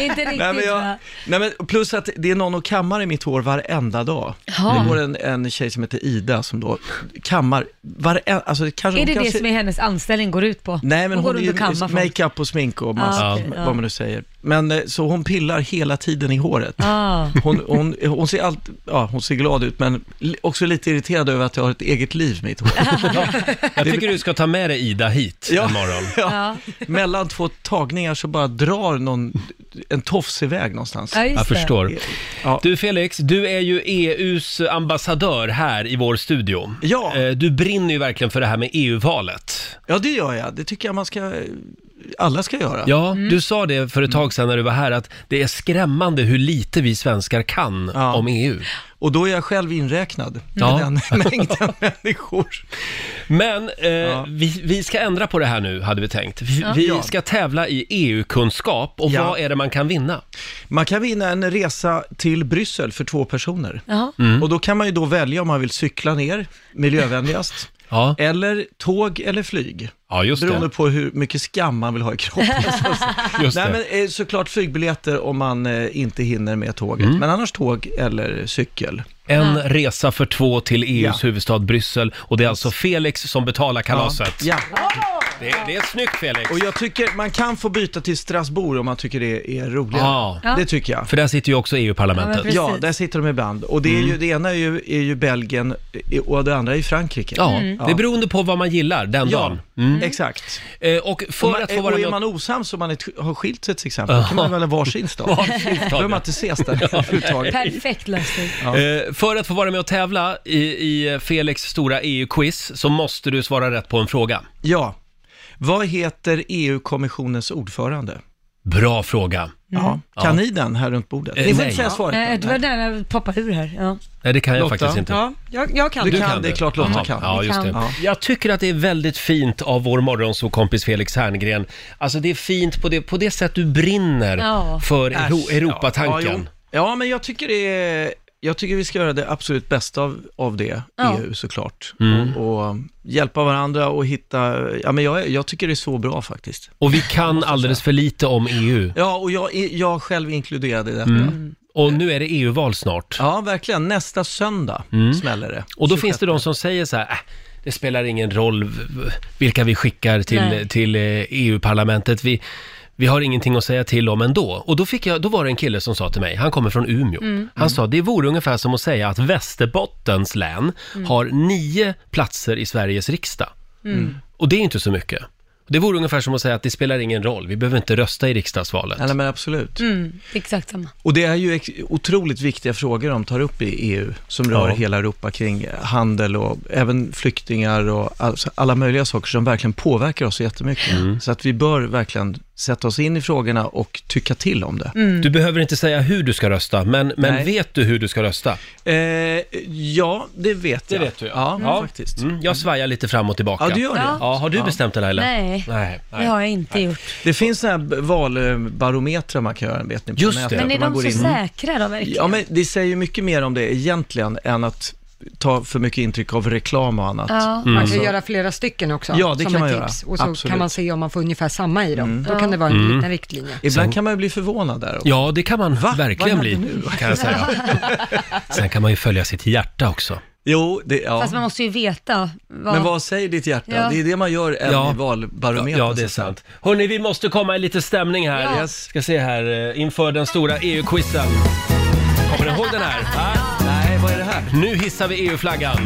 S2: Inte riktigt
S9: Nej, men jag,
S2: va?
S9: nej, men plus att det är någon och kammar i mitt hår varenda dag.
S2: Jaha.
S9: Det går en, en tjej som heter Ida som då kammar varenda... Alltså, det
S2: Är
S9: kanske, hon
S2: det
S9: kanske,
S2: det som är hennes anställning går ut på?
S9: Nej, men
S2: hon
S9: hon,
S2: går
S9: är
S2: runt och kammar
S9: ju
S2: folk.
S9: makeup och smink och mask,
S2: Ja, okej, ja.
S9: vad man nu säger. Men eh, så hon pillar hela tiden i håret.
S2: Ah.
S9: Hon, hon, hon, ser allt, ja, hon ser glad ut, men li- också lite irriterad över att jag har ett eget liv, mitt hår.
S1: Jag tycker du ska ta med dig Ida hit
S9: Ja.
S1: imorgon.
S2: Ja.
S9: Mellan två tagningar så bara drar någon, en tofs iväg någonstans.
S2: Ja, just
S1: Jag förstår.
S9: Ja.
S1: Du Felix, du är ju E- EUs ambassadör här i vår studio.
S9: Ja.
S1: Eh, Du brinner ju verkligen för det här med E EU-valet.
S9: Ja, det gör jag. Det tycker jag man ska, Eh, alla ska göra.
S1: Ja, du sa det för ett tag sedan när du var här att det är skrämmande hur lite vi svenskar kan
S9: Ja.
S1: om EU.
S9: Och då är jag själv inräknad
S1: Ja.
S9: med den mängden människor.
S1: Men eh, vi, vi ska ändra på det här nu, hade vi tänkt. Vi, vi
S9: Ja.
S1: ska tävla i E EU-kunskap och
S9: Ja.
S1: vad är det man kan vinna?
S9: Man kan vinna en resa till Bryssel för två personer.
S2: Ja.
S1: Mm.
S9: Och då kan man ju då välja om man vill cykla ner, miljövänligast,
S1: Ja,
S9: eller tåg eller flyg.
S1: ja just
S9: Beroende
S1: det.
S9: på hur mycket skam man vill ha i kroppen.
S1: Just
S9: Nej,
S1: det.
S9: men eh, såklart flygbiljetter om man eh, inte hinner med tåget. Men annars tåg eller cykel.
S1: Mm. En resa för två till E EUs
S9: Ja.
S1: huvudstad Bryssel och det är alltså Felix som betalar kalaset.
S9: Ja.
S1: Det, det är snyggt Felix.
S9: Och jag tycker man kan få byta till Strasbourg om man tycker det är roligare.
S1: Ja. Ja.
S9: Det tycker jag.
S1: För där sitter ju också E
S9: Ja,
S1: EU-parlamentet.
S9: där sitter de ibland. Och det, är
S1: Mm.
S9: ju, det ena är ju, är ju Belgien eh, och det andra är ju Frankrike.
S1: Ja, det är beroende på vad man gillar den
S9: Ja,
S1: dagen. Mm. Eh,
S9: exakt.
S1: och för
S9: För man,
S1: att få vara
S9: och är
S1: med-
S9: man osams och man är, har skilt sig till exempel, då kan man väl ha varsin stad.
S1: Varsin
S9: Då
S1: stad,
S9: behöver
S1: ja.
S9: man inte ses där överhuvudtaget.
S2: Perfekt lösning.
S1: Eh, För att få vara med och tävla i, i Felix stora EU-quiz så måste du svara rätt på en fråga.
S9: Ja. Vad heter EU-kommissionens ordförande?
S1: Bra fråga.
S9: Ja. Kan ni den här runt bordet?
S1: Eh,
S9: Ni får
S1: nej.
S9: inte säga svaret.
S2: Nej, du var nära att poppa ur här. Ja.
S1: Nej, det kan jag
S9: Lotta?
S1: faktiskt inte.
S3: Ja, jag, jag kan
S9: Du
S3: det.
S9: kan. det är klart Lotta
S1: Jaha.
S9: kan.
S1: Ja,
S2: Vi
S1: just det.
S2: kan.
S9: Ja.
S1: Jag tycker att det är väldigt fint av vår morgonsåkompis Felix Herngren. Alltså det är fint på det, på det sätt du brinner
S2: Ja.
S1: för Euro-
S9: Äsch, Ja,
S1: Europatanken.
S9: ja, jo. ja, men jag tycker det är, jag tycker vi ska göra det absolut bästa av, av det,
S2: Ja.
S9: EU såklart.
S1: Mm.
S9: Och, och hjälpa varandra och hitta, ja men jag, är- jag tycker det är så bra faktiskt.
S1: Och vi kan alldeles för lite om E EU.
S9: Ja, och jag, är- jag själv inkluderad i detta.
S1: Mm. Och nu är det EU-val snart.
S9: Ja, verkligen. Nästa söndag smäller det.
S1: Mm. Och då finns det de som säger så här, äh, det spelar ingen roll v- v- vilka vi skickar till,
S2: Nej.
S1: till eh, EU-parlamentet. Vi, vi har ingenting att säga till om ändå. Och då, fick jag, då var det en kille som sa till mig, han kommer från Umeå. Han sa, det vore ungefär som att säga att Västerbottens län har nio platser i Sveriges riksdag.
S10: Mm.
S2: Mm.
S9: Mm.
S1: Och det är inte så mycket. Det vore ungefär som att säga att det spelar ingen roll, vi behöver inte rösta i riksdagsvalet.
S9: Nej, men absolut.
S2: Mm, exakt samma.
S9: Och det är ju ex- otroligt viktiga frågor de tar upp i EU, som rör
S1: Ja.
S9: hela Europa kring handel och även flyktingar och all, alla möjliga saker som verkligen påverkar oss jättemycket.
S1: Mm.
S9: Så att vi bör verkligen sätta oss in i frågorna och tycka till om det.
S1: Du behöver inte säga hur du ska rösta, men, men
S9: Nej.
S1: vet du hur du ska rösta?
S9: Eh, ja, det vet jag.
S1: vet du, ja.
S9: ja.
S1: Ja.
S9: faktiskt.
S1: Mm, jag svajar lite fram och tillbaka.
S9: Ja, du gör det.
S2: Ja.
S1: Ja, har du bestämt det Laila?
S2: Nej.
S1: Nej.
S2: Det har jag inte gjort.
S9: Det finns sådana här valbarometrar man kan göra, vet ni, på
S1: Just det.
S9: nätet.
S1: Men
S2: Men är
S9: man
S2: de
S9: går
S2: så
S9: in-
S2: säkra då verkligen?
S9: Ja, men det säger ju mycket mer om det egentligen än att ta för mycket intryck av reklam och annat. Alltså,
S2: Ja.
S3: Man kan göra flera stycken också,
S9: Mm. Ja, det
S3: som
S9: kan
S3: ett
S9: man
S3: tips.
S9: göra.
S3: Och så
S9: Absolut. Mm.
S3: kan man se om man får ungefär samma i dem. Då kan det vara en liten riktlinje.
S9: Ibland kan man ju bli förvånad där. också.
S1: Ja, det kan man verkligen
S9: Vad
S1: bli,
S9: hände nu?
S1: kan jag säga. Sen kan man ju följa sitt hjärta också.
S9: Jo, det, ja.
S2: Fast man måste ju veta. Vad...
S9: Men vad säger ditt hjärta?
S2: Ja.
S9: Det är det man gör även
S1: Ja.
S9: i valbarometern.
S1: Ja, det är
S9: så att
S1: sant. Hörni, vi måste komma i lite stämning här.
S2: Ja.
S1: Jag ska se här, eh, inför den stora EU-quizen. Kommer ni ihåg den här? Va?
S9: säga. Nej, vad är det här?
S1: Nu hissar vi E EU-flaggan.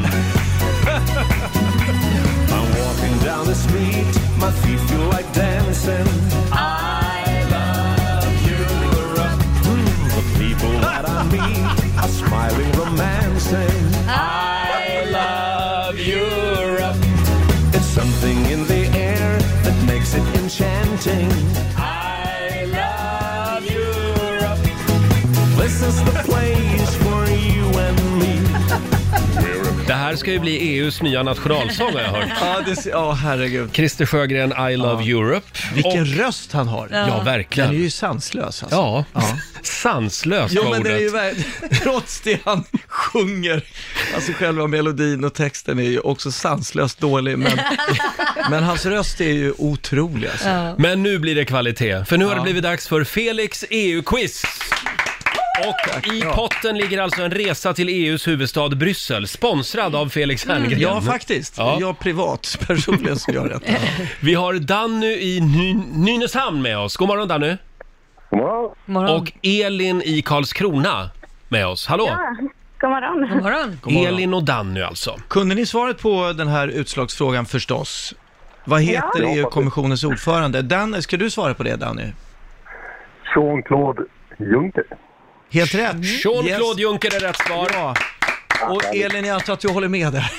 S1: I love Europe. I love Europe. Det här ska ju bli EUs nya nationalsång har jag hört.
S9: Ja, det, ja herregud.
S1: Christer Sjögren, I love Europe.
S9: Vilken
S1: Och,
S9: röst han har.
S1: ja,
S9: Den är
S1: verkligen.
S9: ju sanslös alltså.
S1: Ja,
S9: Ja.
S1: sanslöst
S9: Jo,
S1: var
S9: men det är ju
S1: ordet.
S9: verkligen, trots det han sjunger, alltså själva melodin och texten är ju också sanslöst dålig, men, men hans röst är ju otrolig alltså.
S1: Men nu blir det kvalitet, för nu har det blivit dags för Felix EU-quiz. Och i potten ligger alltså en resa till EUs huvudstad Bryssel, sponsrad av Felix Herngren.
S9: Mm. Ja, faktiskt.
S1: Ja.
S9: Jag privat, personligen, som gör detta.
S1: Vi har Danny i Ny- Nynäshamn med oss. God morgon Danny!
S7: Wow.
S2: Morgon.
S1: Och Elin i Karlskrona med oss. Hallå!
S8: God morgon.
S2: God morgon.
S9: God morgon.
S1: Elin och Danny alltså.
S9: Kunde ni svaret på den här utslagsfrågan förstås? Vad heter
S7: Ja.
S9: EU-kommissionens ordförande? Danny, ska du svara på det Danny?
S7: Jean-Claude Juncker.
S9: Helt rätt!
S1: Jean-Claude Juncker är rätt svar.
S9: Ja. Och Elin, jag antar att du håller med där.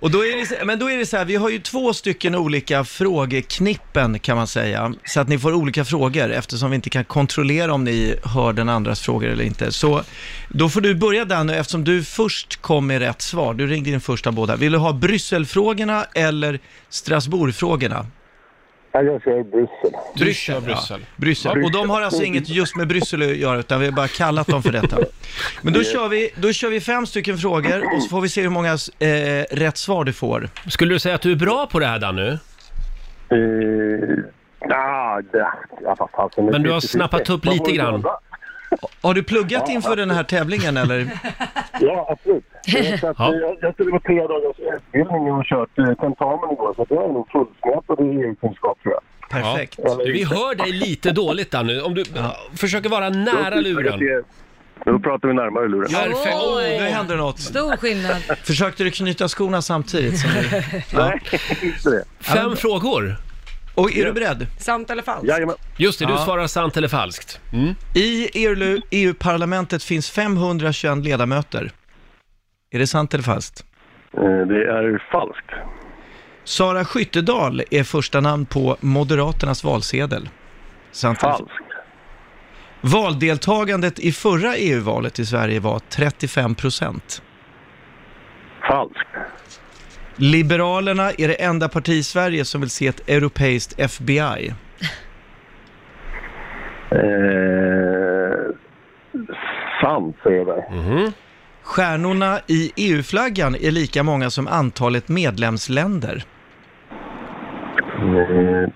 S9: Och då är det, så- men då är det så här, vi har ju två stycken olika frågeknippen kan man säga. Så att ni får olika frågor eftersom vi inte kan kontrollera om ni hör den andras frågor eller inte. Så då får du börja Danny eftersom du först kom med rätt svar. Du ringde in först av båda. Vill du ha Brysselfrågorna eller Strasbourgfrågorna?
S7: Ja, Jag kör Bryssel.
S9: Bryssel. Bryssel. Ja. Bryssel. Och de har alltså inget just med Bryssel att göra, utan vi har bara kallat dem för detta. Men då kör vi, då kör vi fem stycken frågor och så får vi se hur många eh, rätt svar du får.
S1: Skulle du säga att du är bra på det här Danny?
S7: Eh, ah, det, ja, vad fan, som är
S1: Men du har
S7: 50-50.
S1: snappat upp
S7: Man får
S1: lite
S7: ju
S1: grann.
S7: jobba.
S9: Har du pluggat inför den här tävlingen eller?
S11: Ja, absolut. Så att, eh, jag, jag skulle gå tre dagars utbildning och kört eh, tentamen igår, så det var nog fullsmätade i kunskap tror jag.
S1: Perfekt. Vi hör dig lite dåligt där nu. Om du försöker vara nära luren.
S11: Då pratar vi närmare luren.
S9: Perfekt. Oj, nu händer något.
S2: Stor skillnad.
S9: Försökte du knyta skorna samtidigt? Som du...
S11: Nej, inte det.
S1: Fem frågor.
S9: Och är du beredd?
S3: Sant eller falskt?
S1: Just det, du
S9: Ja.
S1: svarar sant eller falskt. Mm.
S9: I E EU- EU-parlamentet finns 521 ledamöter. Är det sant eller falskt?
S11: Eh, Det är falskt.
S9: Sara Skyttedal är första namn på Moderaternas valsedel. Sant falskt. Valdeltagandet i förra EU-valet i Sverige var 35 procent.
S11: Falskt.
S9: Liberalerna är det enda parti i Sverige som vill se ett europeiskt FBI.
S11: Eh, sant säger jag
S9: Stjärnorna i EU-flaggan är lika många som antalet medlemsländer.
S11: Eh,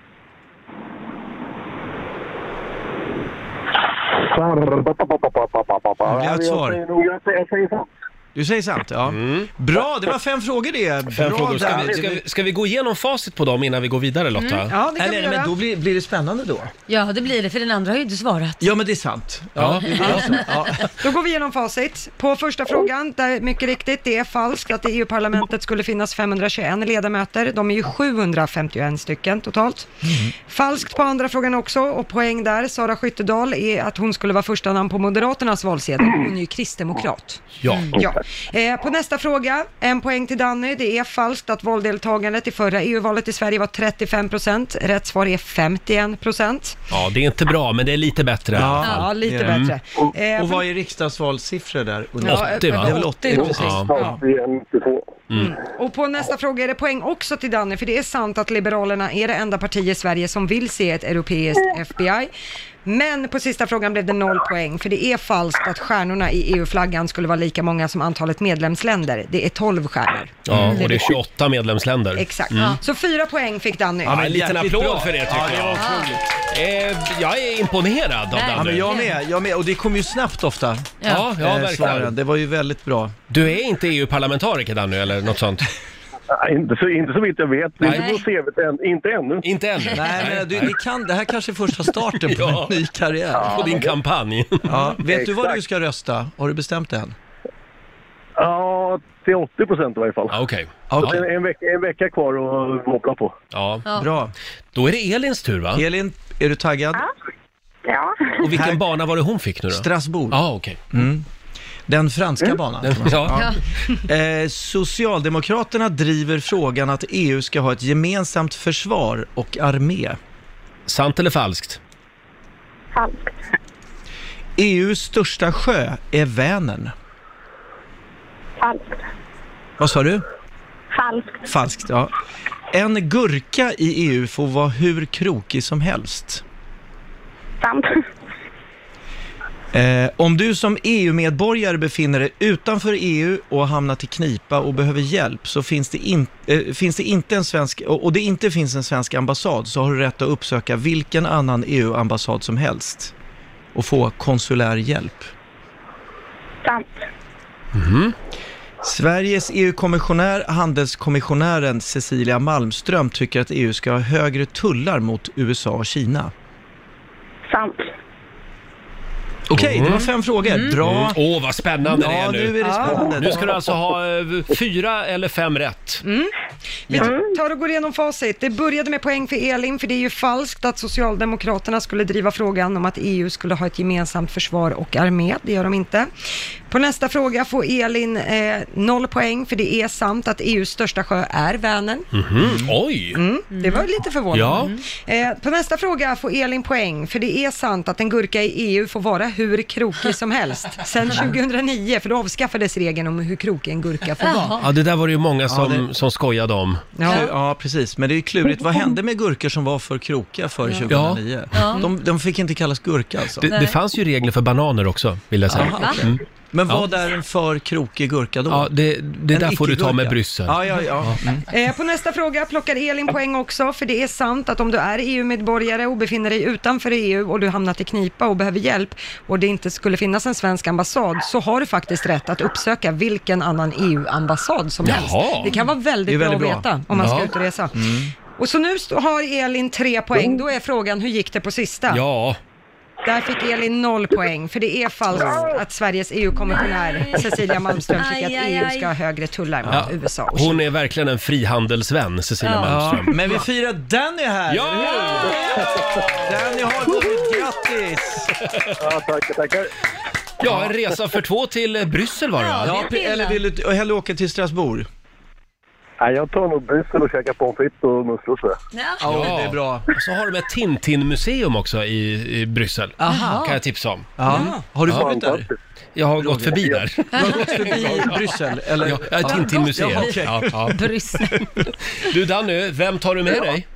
S9: Det blir ett
S11: Jag
S9: svar.
S11: säger nog- jag säger- jag säger sant.
S9: Du säger sant, ja. Bra, det var fem frågor det.
S1: Mm. Fem
S9: Bra
S1: frågor. Ska
S9: där.
S1: vi, ska, vi, ska vi gå igenom facit på dem innan vi går vidare Lotta?
S2: Mm, ja, det kan vi
S9: Eller,
S2: göra.
S9: men då blir, blir det spännande då.
S2: Ja, det blir det, för den andra har ju inte svarat.
S9: Ja, men det är sant.
S1: Ja.
S9: det blir så. ja.
S3: Då går vi igenom facit. På första frågan, där mycket riktigt, det är falskt att i EU-parlamentet skulle finnas 521 ledamöter. De är ju 751 stycken totalt.
S9: Mm.
S3: Falskt på andra frågan också, och poäng där, Sara Skyttedal, är att hon skulle vara första namn på Moderaternas valsedel. Hon är ju kristdemokrat.
S1: Ja.
S11: Mm.
S3: Ja. Eh, på nästa fråga, en poäng till Danny. Det är falskt att valdeltagandet i förra EU-valet i Sverige var 35 procent. Rätt svar är 51 procent.
S1: ja, det är inte bra men det är lite bättre. i alla fall.
S3: Ja, lite
S9: Mm.
S3: bättre.
S9: Och,
S3: Eh,
S9: och vad är riksdagsvalssiffror där? undrar jag?
S3: Ja,
S1: 80, va?
S9: Det är väl 80,
S3: Ja.
S9: precis.
S1: Mm.
S11: Sant, det är inte så.
S3: Och på nästa fråga är det poäng också till Danny, för det är sant att Liberalerna är det enda parti i Sverige som vill se ett europeiskt FBI. Men på sista frågan blev det noll poäng, för det är falskt att stjärnorna i EU-flaggan skulle vara lika många som antalet medlemsländer. Det är 12 stjärnor.
S1: Ja, och det är 28 medlemsländer.
S3: Mm.
S1: Mm.
S3: Exakt. Så fyra poäng fick Danny.
S1: Ja, en liten
S9: jäkligt
S1: applåd
S9: bra.
S1: för det tycker jag. Eh, jag är imponerad av
S9: Ja,
S1: Danny.
S9: men jag med, jag med. Och det kommer ju snabbt ofta,
S1: Ja, ja
S9: eh, svaren.
S1: verkligen.
S9: Det var ju väldigt bra.
S1: Du är inte EU-parlamentariker Danny eller något sånt?
S11: Nej, Inte så, inte så vitt jag vet. Inte
S1: Nej.
S11: på CVt än, inte ännu.
S1: Inte än?
S9: Nej, men du,
S1: Nej.
S9: det, kan, det här kanske är första starten på
S1: Ja.
S9: en ny karriär.
S1: På din kampanj.
S9: Ja, vet du vad
S11: Exakt.
S9: du ska rösta? Har du bestämt det än?
S11: Ja, till 80 procent i varje fall.
S1: Ja, Okej.
S9: Okej.
S11: En, en, vecka, en vecka kvar att måla på.
S1: Ja.
S2: Ja.
S9: Bra.
S1: Då är det Elins tur va?
S9: Elin, är du taggad?
S8: Ja.
S1: Och vilken
S9: Här-
S1: bana var det hon fick nu då?
S9: Strasbourg.
S1: Ja, okej.
S9: Mm. Den franska banan.
S1: Ja.
S9: Eh, Socialdemokraterna driver frågan att EU ska ha ett gemensamt försvar och armé.
S1: Sant eller falskt?
S8: Falskt.
S9: EUs E största sjö är Vänern.
S8: Falskt.
S9: Vad sa du?
S8: Falskt.
S9: Falskt, ja. En gurka i EU får vara hur krokig som helst.
S8: Sant.
S9: Eh, om du som EU-medborgare befinner dig utanför EU och har hamnat i knipa och behöver hjälp så finns det, in, eh, finns det inte en svensk, och och det inte finns en svensk ambassad så har du rätt att uppsöka vilken annan EU-ambassad som helst och få konsulär hjälp.
S8: Sant.
S9: Mhm. Sveriges EU-kommissionär, handelskommissionären Cecilia Malmström tycker att EU ska ha högre tullar mot USA och Kina.
S8: Sant.
S9: Okej, det var fem frågor. Bra.
S1: Mm. Åh, vad spännande det
S9: Ja,
S1: är
S9: nu
S1: nu.
S9: är det spännande.
S1: Nu ska du alltså ha eh, fyra eller fem rätt.
S3: Mm. Vi tar och går igenom facit. Det började med poäng för Elin, för det är ju falskt att Socialdemokraterna skulle driva frågan om att EU skulle ha ett gemensamt försvar och armé. Det gör de inte. På nästa fråga får Elin eh, noll poäng, för det är sant att EUs största sjö är Vänern.
S1: Mhm. Oj!
S3: Mm. Det var ju lite
S1: Ja.
S3: förvånande. Eh, på nästa fråga får Elin poäng, för det är sant att en gurka i EU får vara hur krokig som helst. Sen 2009, för då avskaffades regeln om hur krokig en gurka får vara.
S1: Ja, det där var det ju många som,
S9: Ja, det-
S1: som skojade om.
S9: Ja. ja, precis. Men det är ju klurigt. Vad hände med gurkor som var för krokiga före 2009? De, de fick inte kallas gurka alltså.
S1: Det, det fanns ju regler för bananer också, vill jag säga.
S9: Jaha, okej.
S1: Mm.
S9: Men
S1: Ja.
S9: vad är en för krokig gurka då?
S1: Ja, det, det
S9: En
S1: där får du ta med
S9: icke-gurka.
S1: Bryssel.
S9: Ja, ja, ja. Mm.
S3: Eh, På nästa fråga plockar Elin poäng också, för det är sant att om du är EU-medborgare och befinner dig utanför EU och du hamnat i knipa och behöver hjälp och det inte skulle finnas en svensk ambassad så har du faktiskt rätt att uppsöka vilken annan EU-ambassad som helst.
S12: Jaha.
S3: Det kan vara
S12: Det är
S3: väldigt,
S12: väldigt
S3: bra
S12: bra.
S3: att veta om man ska
S12: Ja.
S3: ut och resa.
S12: Mm.
S3: Och så nu st- har Elin tre poäng, då är frågan hur gick det på sista?
S1: Ja.
S3: Där fick Elin noll poäng, för det är falskt att Sveriges EU-kommissionär Cecilia Malmström tycker
S2: Aj,
S3: att
S2: aj,
S3: EU
S2: aj.
S3: ska ha högre tullar mot
S1: Ja,
S3: USA. och
S1: Hon är verkligen en frihandelsvän, Cecilia
S3: Ja.
S1: Malmström.
S9: Men vi firar Danny här,
S1: Ja!
S9: eller hur? Danny har vunnit, grattis!
S11: Ja, tackar, tackar.
S1: Ja, en resa för två till eh, Bryssel var det va?
S9: Ja, eller vill du hellre åka till Strasbourg?
S11: Nej, jag tar nog Bryssel och käkar pommes frites och musslor tror jag.
S9: det är bra.
S1: Och så har de ett Tintin-museum också i, i Bryssel.
S9: Aha.
S1: Kan jag tipsa om. Mm.
S9: Ja. Har du varit där?
S1: Jag har gått förbi där.
S9: Du har gått förbi Bryssel, eller?
S1: Ja, ja, Tintin-museum.
S9: Ja, okej.
S1: Ja, ja. Du Danny, vem tar du med dig?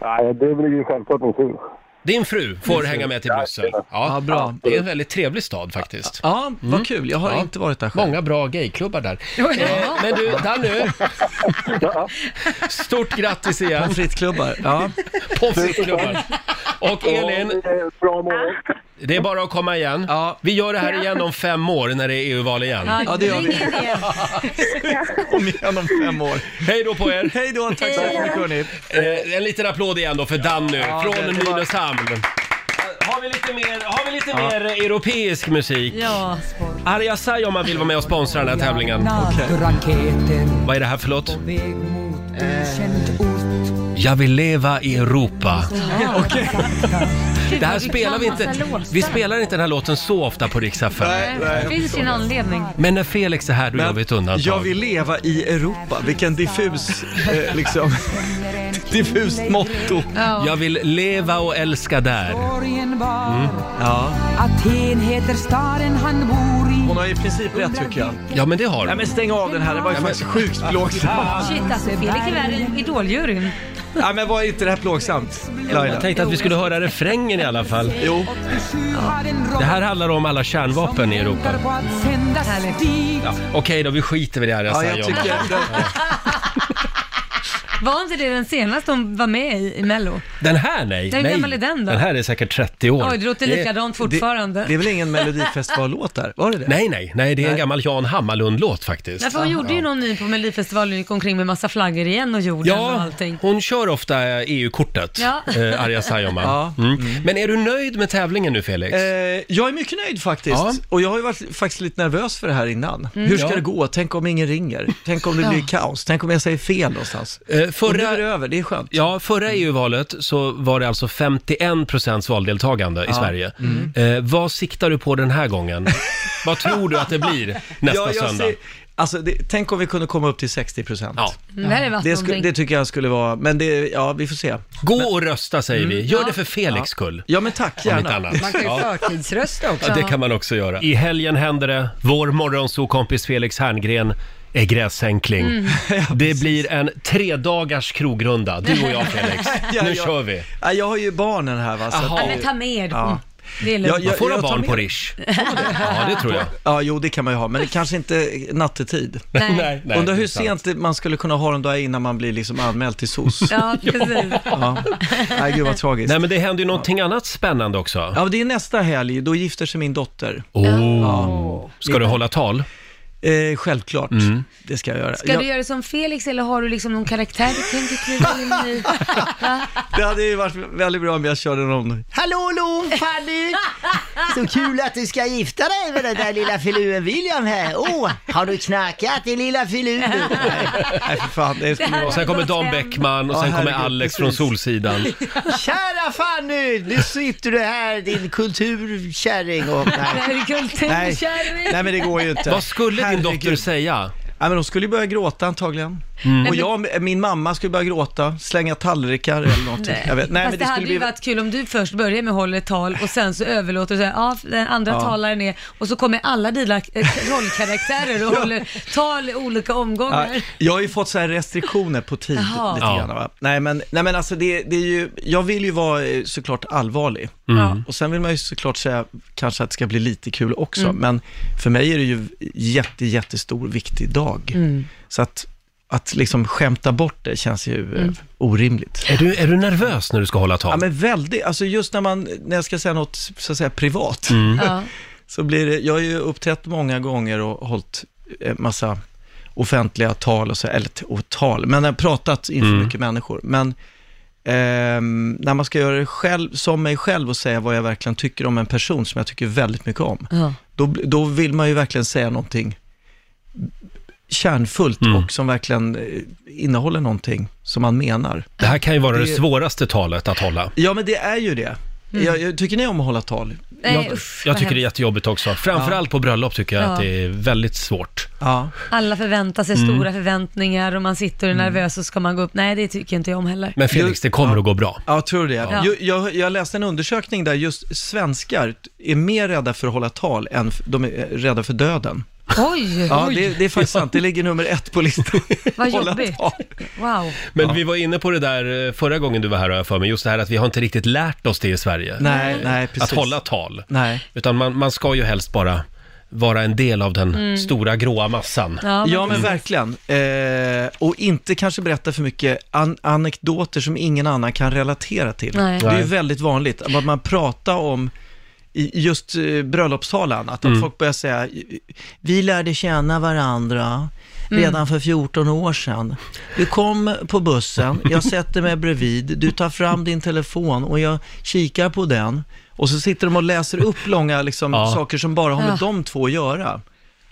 S11: Nej, det blir ju självklart min fru.
S1: Din fru får
S11: Min fru.
S1: hänga med till Bryssel.
S9: Ja, bra.
S1: Det är en väldigt trevlig stad faktiskt. Mm.
S9: Ja, vad kul. Jag har
S1: Ja.
S9: inte varit där själv.
S1: Många bra gayklubbar där. Eh, men du, Danny. Stort grattis igen.
S9: Pommes frites-klubbar. Ja.
S1: Pommes frites-klubbar. Och Elin,
S11: Bra morgon.
S1: det är bara att komma igen. Vi gör det här igen om fem år när det är EU-val igen.
S9: Ja, det gör vi.
S2: ring in igen.
S9: Kom igen om fem år.
S1: Hej då på er!
S9: Hej då, tack så mycket hörni.
S1: Eh, en liten applåd igen då för Danny
S9: Ja,
S1: från
S9: det- det var-
S1: Nynäshamn. Har vi lite mer, har vi lite
S9: Ja.
S1: mer eh, europeisk musik?
S2: Ja.
S1: Arja Saijo om man vill vara med och sponsra den här tävlingen. Vad är det här för låt?
S3: eh,
S1: Jag vill leva i Europa.
S2: Okej.
S1: Det här spelar vi inte, vi spelar inte den här låten så ofta på Rix FM.
S2: Det finns ju en anledning.
S1: Men när Felix är här då gör vi ett undantag.
S9: Jag vill leva i Europa. Vilken diffus, eh, liksom, diffust motto.
S1: Jag vill leva och älska där. Mm.
S9: Ja.
S12: Aten heter staden han bor i.
S9: Hon har i princip rätt tycker jag.
S1: Ja men det har
S9: Nej
S1: du.
S9: men stäng av den här, den var ju faktiskt sjukt plågsam.
S2: Shit alltså, Felix är värre än idoljuryn.
S9: Nej men var inte det här plågsamt Laila?
S1: Jag tänkte att vi skulle höra refrängen i alla fall.
S9: Jo.
S1: Det här handlar om alla kärnvapen i Europa. Ja, Okej då, vi skiter i det här jag
S9: Ja,
S1: säger.
S9: jag
S1: om.
S9: tycker...
S2: Var inte det den senaste hon var med i, i Mello?
S1: Den här nej.
S2: Hur
S1: nej.
S2: gammal är den då?
S1: här är säkert 30 år.
S2: Oj, det låter likadant fortfarande.
S9: Det, det är väl ingen Melodifestivallåt där? Var det det?
S1: Nej, nej, nej, det är en gammal Jan Hammarlund-låt faktiskt.
S2: Därför hon gjorde ju någon ny på Melodifestivalen, gick omkring med massa flaggor igen och jorden och
S1: Ja,
S2: allting.
S1: hon kör ofta EU-kortet,
S2: Ja.
S1: eh, Arja Saijonmaa.
S9: Ja.
S1: Mm. Men är du nöjd med tävlingen nu Felix?
S9: Eh, jag är mycket nöjd Eh, faktiskt.
S1: Ja.
S9: Och jag har ju varit faktiskt lite nervös för det här innan. Hur ska
S1: Mm. Ja.
S9: det gå? Tänk om ingen ringer? Tänk om det blir kaos? Tänk om jag säger fel någonstans?
S1: Eh,
S9: Och nu är det
S1: förra,
S9: över, det är skönt.
S1: ja, förra EU-valet så var det alltså 51% valdeltagande i Sverige.
S9: Mm.
S1: Eh, vad siktar du på den här gången? vad tror du att det blir nästa
S9: Ja, jag
S1: söndag?
S9: ser- alltså, det, tänk om vi kunde komma upp till 60 procent.
S1: Ja.
S2: Mm, Det här är varit
S9: Det, sku,
S2: någonting.
S9: det tycker jag skulle vara, men det, ja, vi får se. Mm.
S1: Gå och rösta säger vi. Gör
S2: Ja.
S1: det för Felix skull.
S9: Ja, men tack,
S1: Om inte
S9: gärna.
S1: annat.
S3: Man kan ju
S1: Ja.
S3: förtidsrösta också.
S1: Ja, det kan man också göra. I helgen händer det. Vår morgonsokompis Felix Herngren är gräsänkling.
S2: Mm.
S1: det blir en tre dagars krogrunda, du och jag Felix.
S9: Ja,
S1: nu
S9: ja.
S1: kör vi.
S9: Ja, jag har ju barnen här va. Så
S1: Jaha.
S9: att
S2: Ja,
S9: det-
S2: men ta med dem.
S9: Ja.
S2: Det är lugnt.
S9: Ja, ja.
S1: Man får ha
S9: jag tar
S1: barn
S9: med
S1: på
S9: det.
S1: Rish. Ja, det tror jag.
S9: ja, jo det kan man ju ha, men kanske inte nattetid.
S2: Nej.
S9: Undrar
S1: det
S9: hur
S1: är sant.
S9: sent man skulle kunna ha dem där innan man blir liksom anmäld till SOS.
S2: Ja, precis.
S9: Ja. Nej, gud vad tragiskt.
S1: Nej men det händer ju någonting annat spännande också.
S9: Ja, det är nästa helg, då gifter sig min dotter.
S1: Oh. Ska du hålla tal? Mm.
S9: Eh, självklart, det ska jag göra.
S2: Ska
S9: jag,
S2: du göra det som Felix eller har du liksom någon karaktär du tänker kliva in i? Va?
S9: Det hade ju varit väldigt bra om jag körde någon...
S12: Hallå Lomfanny! Så kul att du ska gifta dig med den där lilla filuen William här. Åh, har du knackat i lilla filuen?
S9: Nej, för fan, det skulle
S1: Och
S9: vara...
S1: sen kommer
S2: gått
S1: Dan
S2: hem.
S1: Bäckman och sen
S9: Ja,
S1: kommer
S9: herregud,
S1: Alex
S9: precis.
S1: från Solsidan.
S12: Kära Fanny! Nu sitter du här din kulturkärring och... Nej.
S2: Är det
S9: Nej.
S2: kulturkärring?
S9: Nej men det går ju inte.
S1: Vad skulle din
S9: Herregud.
S1: dotter säga? Mm.
S9: Nej men hon skulle ju börja gråta antagligen. Och jag, min mamma skulle börja gråta, slänga tallrikar eller någonting.
S2: Nej.
S9: Jag vet. Nej,
S2: Fast
S9: men
S2: det,
S9: det
S2: hade
S9: skulle
S2: ju
S9: bli...
S2: varit kul om du först börjar med att hålla ett tal och sen så överlåter du så här, ja, den andra
S9: Ja.
S2: talaren är, och så kommer alla dina eh, rollkaraktärer och håller tal i olika omgångar.
S9: Ja, jag har ju fått så här restriktioner på tid
S2: Jaha.
S9: lite
S2: Ja.
S9: grann. Va? Nej, men, nej, men alltså det, det är ju, jag vill ju vara eh, såklart allvarlig.
S11: Mm.
S9: Och sen vill man ju såklart säga kanske att det ska bli lite kul också.
S11: Mm.
S9: Men för mig är det ju jätte, jättestor, viktig dag.
S11: Mm.
S9: Så att, att liksom skämta bort det känns ju eh,
S1: Mm.
S9: orimligt.
S1: Är du, är du nervös när du ska hålla tal?
S9: Ja, men väldigt. Alltså just när, man, när jag ska säga något så att säga, privat,
S1: Mm.
S2: Ja.
S9: så blir det, jag har ju uppträtt många gånger och hållit eh, massa offentliga tal och så, eller t- och tal, men jag har pratat inför
S11: Mm.
S9: mycket människor. Men ehm, när man ska göra det själv, som mig själv och säga vad jag verkligen tycker om en person som jag tycker väldigt mycket om,
S2: Ja.
S9: då, bl- då vill man ju verkligen säga någonting kärnfullt
S1: Mm.
S9: och som verkligen eh, innehåller någonting som man menar.
S1: Det här kan ju vara det,
S9: Det-
S1: svåraste talet att hålla.
S9: Ja, men det är ju det.
S2: Mm.
S9: Jag, jag, tycker ni om att hålla tal?
S2: Nej,
S1: jag,
S2: usch,
S1: jag
S2: vad
S1: tycker det är
S2: hemskt.
S1: jättejobbigt också. Framförallt på bröllop tycker jag
S2: Ja.
S1: att det är väldigt svårt.
S9: Ja.
S2: Alla förväntar sig
S1: Mm.
S2: stora förväntningar och man sitter
S9: Mm.
S2: och är nervös och ska man gå upp. Nej, det tycker inte jag om heller.
S1: Men Felix, det kommer att gå bra.
S9: Ja, tror du det?
S2: Ja.
S9: Jag, jag, jag läste en undersökning där just svenskar är mer rädda för att hålla tal än f- de är rädda för döden.
S2: Oj,
S9: Ja,
S2: oj.
S9: det, det är faktiskt sant. Det ligger nummer ett på listan.
S2: vad
S9: hålla
S2: jobbigt. Wow.
S1: Men vi var inne på det där eh, förra gången du var här har jag för mig, just det här att vi har inte riktigt lärt oss det i Sverige.
S9: Nej,
S1: Eh,
S9: nej, precis.
S1: Att hålla tal.
S9: Nej.
S1: Utan man, man ska ju helst bara vara en del av den
S9: Mm.
S1: stora gråa massan.
S9: Ja, men, verkligen. Eh, och inte kanske berätta för mycket an- anekdoter som ingen annan kan relatera till.
S11: Nej.
S9: Det är ju
S11: Nej.
S9: väldigt vanligt att man pratar om i just eh, bröllopstalan, att,
S11: Mm.
S9: att folk börjar säga, vi lärde känna varandra redan
S11: Mm.
S9: för 14 år sedan. Du kom på bussen, jag sätter mig bredvid, du tar fram din telefon och jag kikar på den. Och så sitter de och läser upp långa liksom,
S1: Ja.
S9: saker som bara har med
S1: Ja.
S9: de två att göra.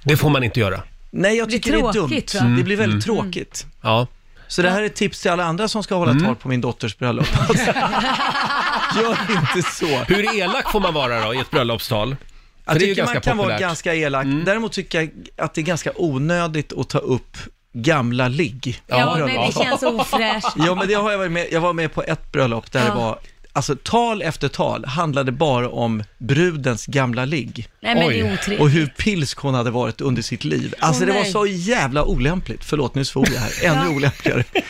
S1: Det får man inte göra.
S9: Nej, jag
S1: Det blir
S9: tycker det är
S1: tråkigt,
S9: dumt.
S1: va?
S9: Det blir väldigt
S1: Mm.
S9: tråkigt.
S1: Ja. Mm.
S9: Så det här är ett tips till alla andra som ska hålla tal på min dotters bröllop. Alltså, Gör inte så.
S1: Hur elak får man vara då i ett bröllopstal? För
S9: Jag
S1: det är ju
S9: tycker
S1: ganska
S9: man kan vara
S1: populärt. Mm.
S9: ganska elak. Däremot tycker jag att det är ganska onödigt att ta upp gamla ligg.
S2: Ja, nej, det känns ofräscht.
S9: Ja, men det har jag varit med Jag var med på ett bröllop där
S2: Ja.
S9: det var, alltså tal efter tal handlade bara om brudens gamla ligg.
S2: Nej, men det är otrevligt.
S9: Och hur pilsk hon hade varit under sitt liv. Alltså
S2: Åh,
S9: det var
S2: nej.
S9: så jävla olämpligt. Förlåt, nu svor jag här. Ännu
S2: Ja.
S9: olämpligare.
S2: men-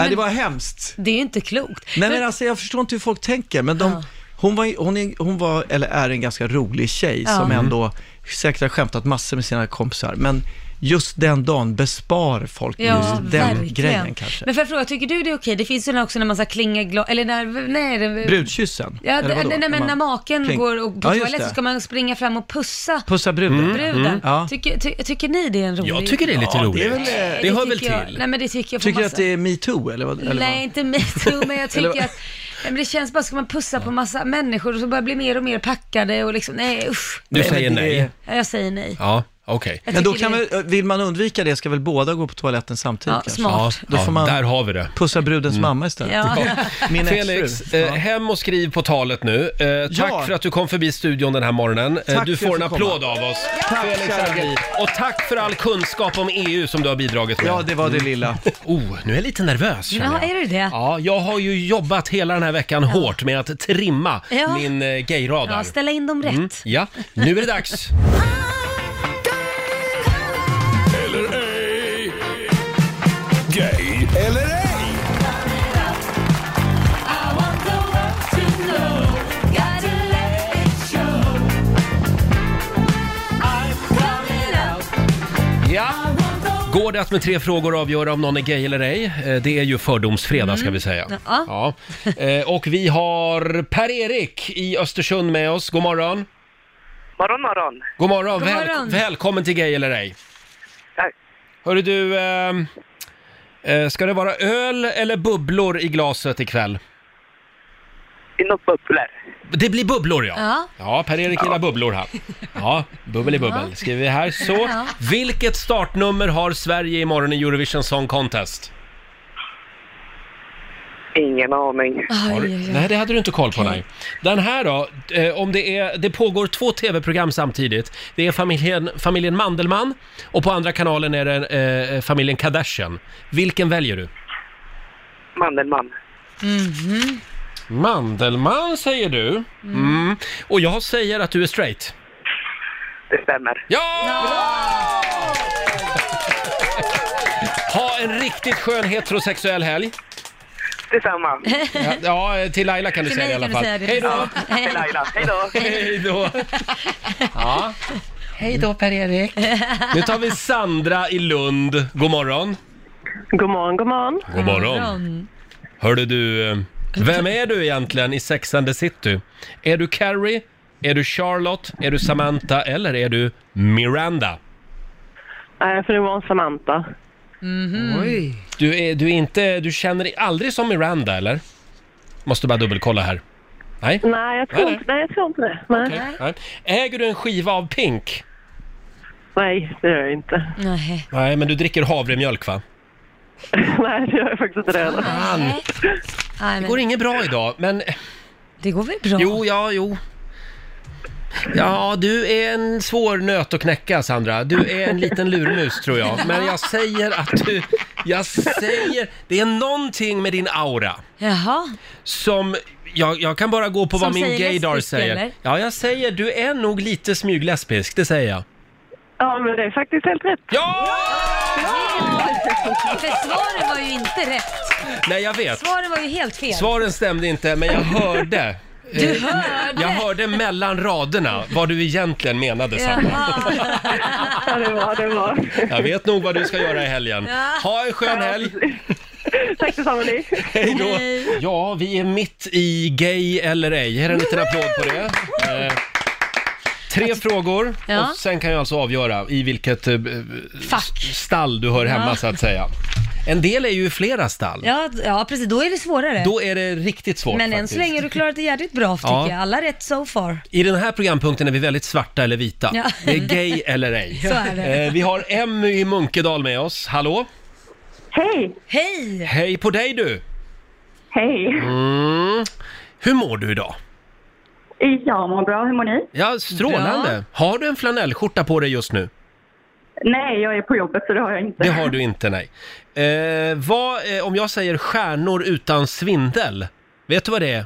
S9: Nej, det var hemskt.
S2: Det är ju inte klokt.
S9: Nej men alltså jag förstår inte hur folk tänker, men de, hon, var, ju- hon, är, hon var, eller är en ganska rolig tjej
S2: Ja.
S9: som
S2: Mm.
S9: ändå säkert har skämtat massor med sina kompisar, men just den dagen bespar folk
S2: Ja,
S9: just den
S2: verkligen.
S9: grejen kanske.
S2: Men får jag fråga, tycker du det är okej? Det finns ju den här också när man ska klinga glas, eller när, nej, det-
S9: Brudkyssen?
S2: Ja,
S9: Eller
S2: det,
S9: vadå?
S2: nej, nej, men
S9: Man-
S2: när maken
S9: Kling-
S2: går och på
S9: Ja, just
S2: toaletten
S9: det.
S2: så ska man springa fram och pussa
S9: Pussa bruden? Mm,
S2: bruden.
S9: Ja.
S2: Tycker, ty, tycker ni det är en rolig
S9: Jag tycker det är lite
S2: Ja,
S9: roligt.
S2: väl, eh,
S9: Det
S2: tycker
S9: hör väl
S2: jag-
S9: till.
S2: Nej men det tycker jag. får
S9: Tycker du
S2: massa-
S9: att det är metoo eller vad? Eller vad?
S2: Nej, inte metoo, men jag
S9: Eller
S2: tycker
S9: vad?
S2: att nej, men det känns bara, ska man pussa på massa människor och så börjar bli mer och mer packade och liksom, nej usch.
S1: Du säger
S9: men det-
S1: nej.
S2: Ja, Jag säger nej.
S1: Ja, okej.
S2: Jag
S9: Men då
S2: tycker
S9: kan
S2: det-
S9: väl, vill man undvika det ska väl båda gå på toaletten samtidigt?
S2: Ja,
S9: kanske?
S2: smart.
S9: Då får man
S1: där har vi det.
S9: pussa brudens mamma istället.
S2: Ja.
S9: Min exfru.
S1: Mm. Felix, eh, hem och skriv på talet nu. Eh, tack
S9: Ja.
S1: för att du kom förbi studion den här morgonen. Eh,
S9: Tack
S1: du
S9: för att
S1: får en
S9: jag fick
S1: applåd
S9: komma.
S1: av oss.
S9: Tack,
S1: Felix
S9: kära
S1: Herngren. Och tack för all kunskap om EU som du har bidragit med.
S9: Ja, det var det lilla.
S1: Oh, nu är jag lite nervös känner
S2: Ja,
S1: jag.
S2: är du det?
S1: Ja, jag har ju jobbat hela den här veckan hårt med att trimma
S2: Ja.
S1: min eh, gayradar.
S2: Ja, ställa in dem rätt.
S1: Mm, ja, nu är det dags.
S5: Eller ej. Gay eller ej.
S1: Ja. Går det att med tre frågor avgöra om någon är gay eller ej? Eh, Det är ju fördomsfredag ska vi säga. Ja. Eh, Och vi har Per-Erik i Östersund med oss. God morgon.
S13: Morgon, morgon.
S1: God morgon.
S13: God
S1: Väl-
S13: morgon.
S1: välkommen till Gay eller ej.
S13: Tack.
S1: Hörru du, ehm, eh, ska det vara öl eller bubblor i glaset ikväll?
S13: Något bubblor.
S1: Det blir bubblor ja.
S13: Ja.
S1: Ja, Per-Erik gillar bubblor här. Ja, bubbel i bubbel
S13: Ja.
S1: skriver vi här. Så,
S13: Ja.
S1: vilket startnummer har Sverige imorgon i Eurovision Song Contest?
S13: Ingen aning.
S1: Har du-
S13: Mm.
S1: Nej, det hade du inte koll på. Nej. Den här då, eh, om det, är, det pågår två tv-program samtidigt. Det är familjen, familjen Mandelmann och på andra kanalen är det eh, familjen Kardashian. Vilken väljer du?
S13: Mandelmann.
S2: Mhm.
S1: Mandelmann säger du. Mm. Och jag säger att du är straight.
S13: Det stämmer.
S1: Ja! Ha en riktigt skön heterosexuell helg.
S13: Detsamma.
S1: Ja, ja, till Laila kan du säga det i alla fall. Hej då!
S13: Hej Laila. Hej då.
S1: Hej då! Ja.
S14: Hej då Per-Erik.
S1: Nu tar vi Sandra i Lund. God morgon.
S10: God morgon, god morgon.
S1: God
S2: Mm.
S1: morgon. Hörde du, eh, vem är du egentligen i Sex and the City? Är du Carrie? Är du Charlotte? Är du Samantha? Eller är du Miranda?
S10: Nej, Äh, för det var en Samantha.
S1: Oj. Du, är, du, är inte, du känner dig aldrig som Miranda, eller? Måste bara dubbelkolla här. Nej?
S10: Nej, jag tror
S1: Nej,
S10: inte, nej, jag tror inte det. Nej.
S1: Nej. Äger du en skiva av Pink?
S10: nej, det gör jag inte.
S2: Nej.
S1: Nej, men du dricker havremjölk, va?
S10: nej, det gör jag faktiskt inte det heller.
S1: Det går inget bra idag, men...
S2: Det går väl bra?
S1: Jo, ja, jo. Ja, du är en svår nöt att knäcka, Sandra. Du är en liten lurmus, tror jag. Men jag säger att du... Jag säger... Det är någonting med din aura
S2: Jaha.
S1: som... Jag, jag kan bara gå på vad
S2: Som
S1: min
S2: säger
S1: gaydar
S2: lesbisk,
S1: säger.
S2: eller?
S1: Ja, jag säger du är nog lite smyglesbisk, det säger jag.
S10: Ja, men det är faktiskt helt rätt.
S1: Ja!
S2: För svaren var ju inte rätt.
S1: Nej, jag vet.
S2: Svaren var ju helt fel.
S1: Svaren stämde inte, men jag hörde.
S2: Du
S1: eh,
S2: hörde?
S1: Jag hörde mellan raderna vad du egentligen menade, Sandra.
S10: Ja, det var det. Var.
S1: Jag vet nog vad du ska göra i helgen. Ha en skön helg!
S10: Tack detsamma ni.
S1: Hej då! Ja, vi är mitt i Gay eller ej. Här är en liten applåd på det. Eh, tre frågor
S2: Ja.
S1: och sen kan jag alltså avgöra i vilket eh, s- stall du hör hemma
S2: Ja.
S1: så att säga. En del är ju i flera stall.
S2: Ja, ja, precis. Då är det svårare.
S1: Då är det riktigt svårt
S2: Men än
S1: faktiskt.
S2: så länge har du klarat det jävligt bra, tycker
S1: Ja.
S2: jag. Alla rätt so far.
S1: I den här programpunkten är vi väldigt svarta eller vita.
S2: Ja.
S1: Det är gay eller ej.
S2: Så är det.
S1: Eh, Vi har Emmy i Munkedal med oss. Hallå?
S10: Hej!
S2: Hej!
S1: Hej på dig du!
S10: Hej!
S1: Mm. Hur mår du idag?
S15: Jag mår bra, hur mår ni?
S1: Ja, strålande.
S15: Bra.
S1: Har du en flanellskjorta på dig just nu?
S15: Nej, jag är på jobbet så det har jag inte.
S1: Det har du inte, nej. Eh, vad, eh, om jag säger stjärnor utan svindel, vet du vad det är?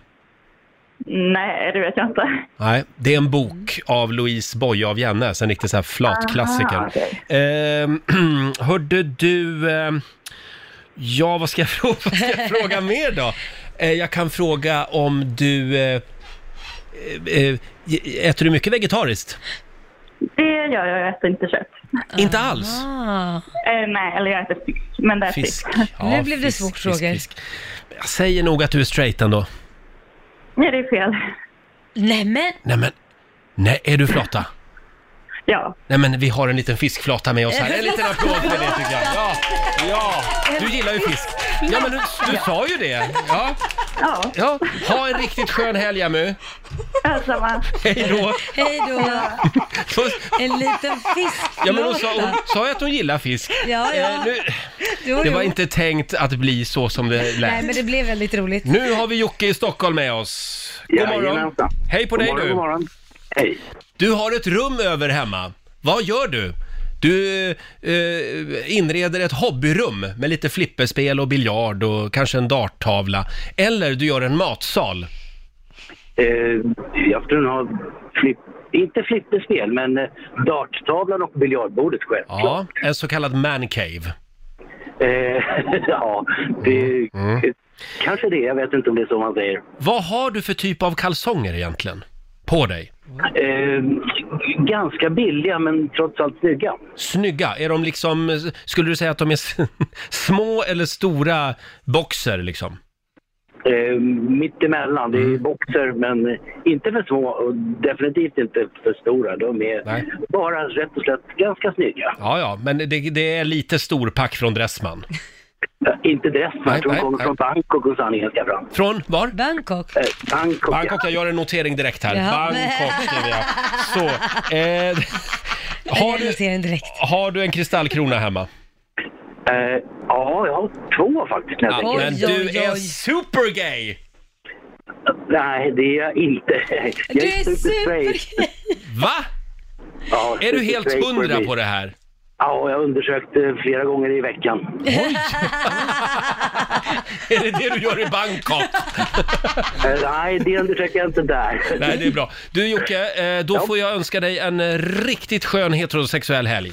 S15: Nej, det vet jag inte.
S1: Nej, det är en bok av Louise Boye av Jennes, en riktig så här flat klassiker.
S15: Aha, okej.
S1: Eh, hörde du... Eh, ja, vad ska jag fråga, vad ska jag fråga mer då? Eh, jag kan fråga om du... Eh, eh, äter du mycket vegetariskt?
S15: Det gör jag, jag äter inte kött.
S1: Inte alls?
S15: Eh, nej, eller jag äter fisk, men det är
S1: Fisk.
S15: fisk.
S1: Ja, Nu blev det fisk, svårt, fisk, Roger. fisk. Jag säger nog att du är straight ändå.
S15: Nej, det är fel.
S2: Nej men,
S1: Nej men, nej, är du flotta?
S15: Ja.
S1: Nej men vi har en liten fiskflata med oss här. En liten applåd för det tycker jag. Ja, ja. Du gillar ju fisk. Ja men du, du sa ju det. Ja.
S15: Ja.
S1: ja. Ha en riktigt skön helg Emmy.
S15: Detsamma.
S1: Hej då.
S2: hej då.
S1: Puss.
S2: En liten fisk.
S1: Ja men hon sa, hon sa ju att hon gillar fisk.
S2: Ja, ja.
S1: Eh, nu,
S2: Jo,
S1: det
S2: jo.
S1: var inte tänkt att bli så som det
S2: Nej,
S1: lät.
S2: men det blev väldigt roligt.
S1: Nu har vi Jocke i Stockholm med oss. God morgon.
S13: Jajamensan.
S1: Hej på
S13: God
S1: dig
S13: morgon,
S1: du.
S13: god morgon. Hej.
S1: Du har ett rum över hemma. Vad gör du? Du eh, inreder ett hobbyrum med lite flipperspel och biljard och kanske en darttavla. Eller du gör en matsal.
S16: Eh, jag skulle nog ha flipp, inte flipperspel, men eh, darttavlan och biljardbordet självklart.
S1: Ja, en så kallad mancave.
S16: Eh, ja, det
S1: Mm.
S16: eh, kanske det. Jag vet inte om det är så man säger.
S1: Vad har du för typ av kalsonger egentligen? På dig?
S16: Eh, ganska billiga, men trots allt snygga.
S1: Snygga. Är de liksom, eh, skulle du säga att de är s- små eller stora boxer liksom?
S16: Eh, Mittemellan. Det är
S1: Mm.
S16: boxer, men eh, inte för små och definitivt inte för stora. De är bara rätt och slätt ganska snygga.
S1: Ja, ja, men det, det är lite storpack från Dressman.
S16: Eh, Inte dress, men
S1: Nej,
S16: jag tror de
S1: nej,
S16: kommer
S1: nej.
S16: från Bangkok och sanningen ska fram.
S1: Från var?
S2: Bangkok.
S16: Eh, Bangkok,
S1: Bangkok, jag gör en notering direkt här.
S2: Jaha.
S1: Bangkok skriver jag. Så, eh,
S2: Har
S1: har, du,
S2: du... direkt.
S1: har du en kristallkrona hemma?
S16: Eh, ja, jag har två faktiskt. nästan.
S5: Oj,
S4: Men du är supergay!
S16: Nej, det är jag inte. Jag
S5: Du är
S16: supergay!
S4: Va?
S16: Ja,
S5: Är du helt
S16: superstraight
S5: hundra
S16: me.
S5: på
S4: det här?
S16: Ja, jag undersökte flera gånger i veckan.
S4: Är det det du gör i Bangkok?
S16: Eh, Nej, det undersöker jag inte där.
S1: Nej, det är bra. Du Jocke, eh, då får jag önska dig en eh, riktigt skön heterosexuell helg.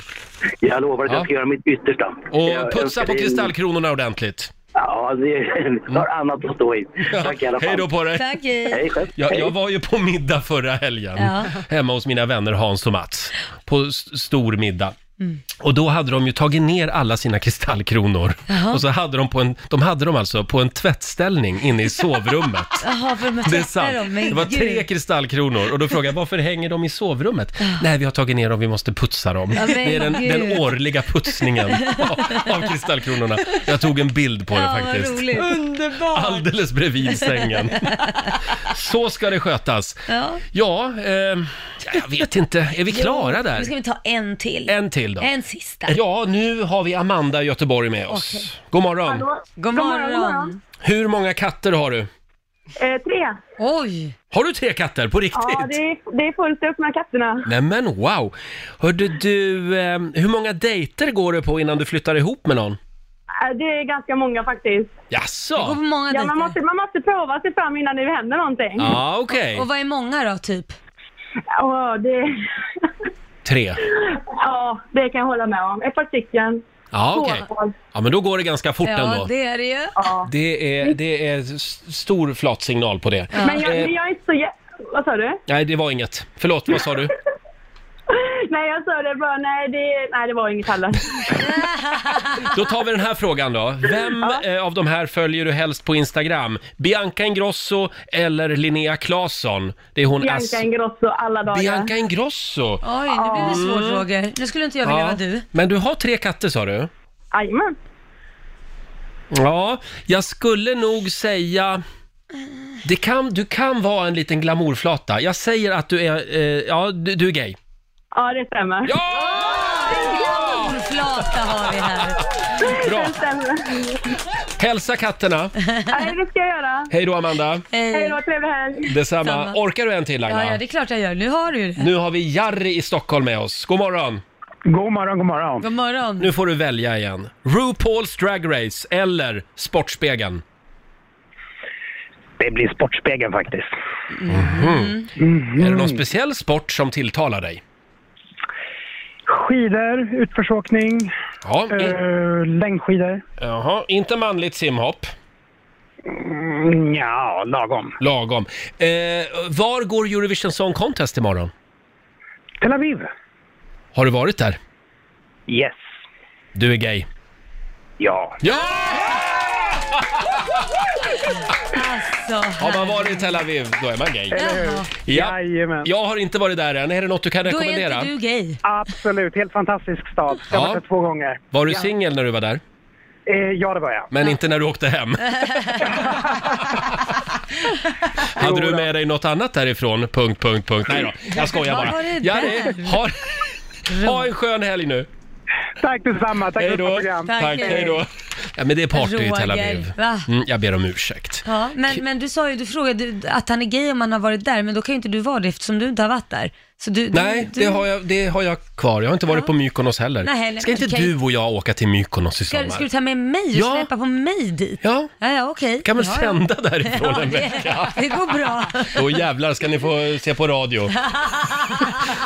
S16: Jag lovar att
S1: Ja.
S16: jag ska göra mitt yttersta.
S1: Och
S16: Jag
S1: putsa
S16: önskar
S1: på
S16: dig en-
S1: kristallkronorna ordentligt.
S16: Ja, det har annat att stå i. Tack i alla fall.
S1: Hej då på dig!
S2: Tack, hej. Hej, själv.
S1: jag,
S16: Hej.
S1: jag var ju på middag förra helgen
S2: Ja.
S1: hemma hos mina vänner Hans och Mats. På s- stor middag.
S2: Mm.
S1: Och då hade de ju tagit ner alla sina kristallkronor.
S2: Jaha.
S1: Och så hade de, på en, de hade dem alltså på en tvättställning inne i sovrummet.
S2: Jaha, för man
S1: Det är
S2: tvättar dem.
S1: sant.
S2: Men
S1: Det var
S2: gud.
S1: tre kristallkronor och då frågade jag varför hänger de i sovrummet? Nej, vi har tagit ner dem, vi måste putsa dem.
S2: Ja, men
S1: Det är den, den
S2: gud.
S1: årliga putsningen av- av kristallkronorna. Jag tog en bild på
S2: Ja,
S1: det
S2: vad
S1: faktiskt.
S2: roligt. Underbart.
S1: Alldeles bredvid sängen. Så ska det skötas.
S2: Ja.
S1: Ja, eh, jag vet inte. Är vi klara
S2: Nu ska
S1: där?
S2: vi ta en till.
S1: En till då.
S2: En sista.
S1: Ja, nu har vi Amanda i Göteborg med oss.
S2: Okej.
S1: God morgon.
S2: God
S10: God
S2: morgon.
S10: morgon.
S1: Hur många katter har du?
S10: Eh, tre.
S2: Oj!
S1: Har du tre katter på riktigt?
S10: Ja, det är, det är fullt upp med katterna.
S1: Nämen wow! Hörde du, eh, hur många dejter går du på innan du flyttar ihop med någon?
S10: Eh, Det är ganska många faktiskt.
S1: Jaså?
S2: många
S10: ja, man, måste, man måste prova sig fram innan det händer någonting.
S1: Ja, okej.
S2: Och vad är många då, typ?
S10: Ja, det,
S1: Tre.
S10: ja, det kan jag hålla med om. Ett par stycken.
S1: Ja, okej.
S10: Två.
S1: Ja, men då går det ganska fort
S2: ja,
S1: ändå.
S2: det är det ju.
S10: Ja.
S1: Det är, det är s- stor flatsignal på det.
S10: Men jag,
S1: Eh,
S10: men jag är inte så... jä- Vad sa du?
S1: nej, det var inget. Förlåt, vad sa du?
S10: Nej, jag sa det bara. Nej, det, nej, det var inget heller.
S1: Då tar vi den här frågan då. Vem eh, av de här följer du helst på Instagram? Bianca Ingrosso eller Linnea Claesson? Det är hon S-
S10: Bianca Ingrosso alla dagar.
S1: Bianca Ingrosso.
S2: Oj, nu blir det svårt
S1: Mm.
S2: Roger. Nu skulle inte jag vilja
S1: Ja.
S2: vara du.
S1: Men du har tre katter sa du?
S10: Jajamän.
S1: Ja, jag skulle nog säga... Det kan, du kan vara en liten glamourflata. Jag säger att du är... Eh, ja, du, du är gay.
S10: Ja, det stämmer.
S1: Ja!
S2: Flata har vi här.
S1: Bra.
S10: Det stämmer.
S1: Hälsa katterna.
S10: Nej, det ska jag göra.
S1: Hej då, Amanda.
S10: Hej då, trevlig helg.
S1: Detsamma.
S2: Eh, Samma.
S1: Orkar du en till, Agda?
S2: Ja, ja, det är klart jag gör. Nu har du ju det.
S1: Nu har vi Jari i Stockholm med oss. God morgon!
S17: God morgon, god morgon.
S2: God morgon.
S1: Nu får du välja igen. RuPaul's Drag Race eller Sportspegeln?
S17: Det blir Sportspegeln faktiskt.
S1: Mhm. Är det någon speciell sport som tilltalar dig?
S17: Skidor, utförsåkning,
S1: Ja, i-
S17: eh, längdskidor.
S1: Jaha, inte manligt simhopp?
S17: Mm, ja, lagom.
S1: Lagom. Eh, var går Eurovision Song Contest imorgon?
S17: Tel Aviv.
S1: Har du varit där?
S17: Yes.
S1: Du är gay.
S17: Ja.
S1: Ja!
S2: Alltså,
S1: Har man varit i Tel Aviv, då är man gay.
S17: Eller hur?
S1: Ja.
S17: Jajamän.
S1: Jag har inte varit där än. Är det något du kan
S2: Då är
S1: rekommendera?
S2: inte du gay.
S17: Absolut, helt fantastisk stad. Jag
S1: Ja.
S17: har varit där två gånger.
S1: Var du
S17: ja.
S1: singel när du var där?
S17: Eh, ja, det var jag.
S1: Men inte när du åkte hem. Hade du med dig något annat därifrån? Punkt, punkt, punkt. Nej då, jag skojar
S5: Vad
S1: bara.
S5: var det
S1: Jari,
S5: där?
S1: ha, ha en skön helg nu.
S17: Tack detsamma. Tack för ett bra program.
S1: Tack, hej då. Ja, men det är party i Tel Aviv.
S2: Roger, va?
S1: Mm, jag ber om ursäkt.
S2: Ja, men, men du sa ju, du frågade att han är gay om han har varit där, men då kan ju inte du vara det eftersom du inte har varit där. Så du, du,
S1: Nej,
S2: du,
S1: det har, jag, det har jag kvar. Jag har inte varit på Mykonos heller.
S2: Nej, heller.
S1: Ska inte
S2: Okej.
S1: du och jag åka till Mykonos i
S2: Ska, ska du
S1: sommar?
S2: ta med mig och
S1: Ja.
S2: släpa på mig dit?
S1: Ja.
S2: Ja, ja okej.
S1: Kan väl
S2: ja,
S1: sända därifrån en
S2: det-
S1: vecka.
S2: Det går bra.
S1: Då jävlar ska ni få se på radio.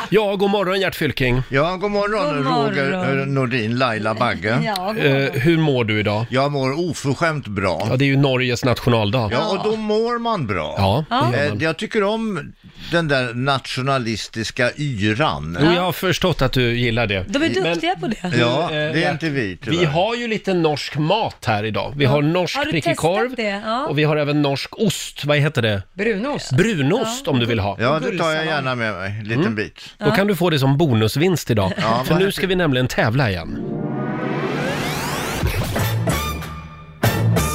S1: Ja, god morgon Gert Fylking.
S18: Ja, god morgon,
S2: God morgon.
S18: Roger eh, Nordin, Laila Bagge.
S2: Ja, god morgon.
S1: Eh, hur mår du idag?
S18: Jag mår oförskämt bra.
S1: Ja, det är ju Norges nationaldag.
S18: Ja, och då mår man bra.
S1: Ja, det gör
S18: Eh,
S1: man.
S18: Jag tycker om den där nationalistiska yran.
S1: Jo, jag har förstått att du gillar det.
S2: De är duktiga på det.
S18: Ja,
S1: Eh,
S18: det är inte vi tyvärr.
S1: Vi har ju lite norsk mat här idag. Vi har norsk
S2: Har du
S1: prickig korv
S2: testat det? Ja.
S1: och vi har även norsk ost. Vad heter det?
S3: Brunost.
S1: Brunost om du vill ha. Mm.
S18: Ja, det tar jag gärna med mig, en liten bit.
S1: Då kan du få det som bonusvinst idag.
S18: Ja, vad
S1: För nu
S18: häftigt.
S1: ska vi nämligen tävla igen.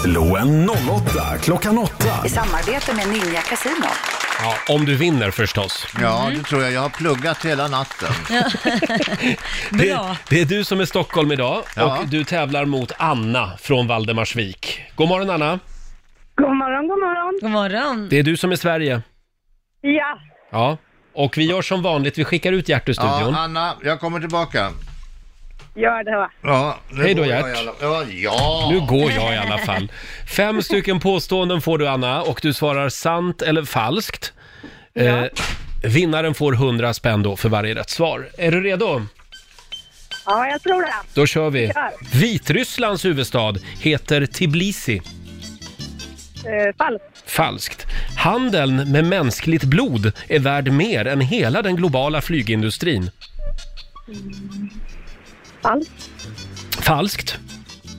S5: Slå en 08 klockan 8.
S19: I samarbete med Ninja Casino.
S1: Ja, om du vinner förstås.
S18: Ja, det tror jag. Jag har pluggat hela natten.
S1: Det, det är du som är Stockholm idag
S18: Ja.
S1: och du tävlar mot Anna från Valdemarsvik. God morgon Anna!
S10: God morgon, god morgon.
S2: God morgon.
S1: Det är du som är Sverige.
S10: Ja,
S1: Ja. Och vi gör som vanligt, vi skickar ut Gert ur studion.
S18: Ja, Anna, jag kommer tillbaka.
S10: gör det va.
S18: Ja,
S1: Hej då,
S18: går jag
S1: Gert.
S18: i alla- Ja, ja.
S1: Nu går jag i alla fall. Fem stycken påståenden får du Anna och du svarar sant eller falskt. Eh, vinnaren får 100 spänn då för varje rätt svar. Är du redo?
S10: Ja, jag tror det.
S1: Då kör vi.
S10: Vi kör.
S1: Vitrysslands huvudstad heter Tbilisi.
S10: Eh, falskt.
S1: Falskt. Handeln med mänskligt blod är värd mer än hela den globala flygindustrin.
S10: Falskt.
S1: Falskt.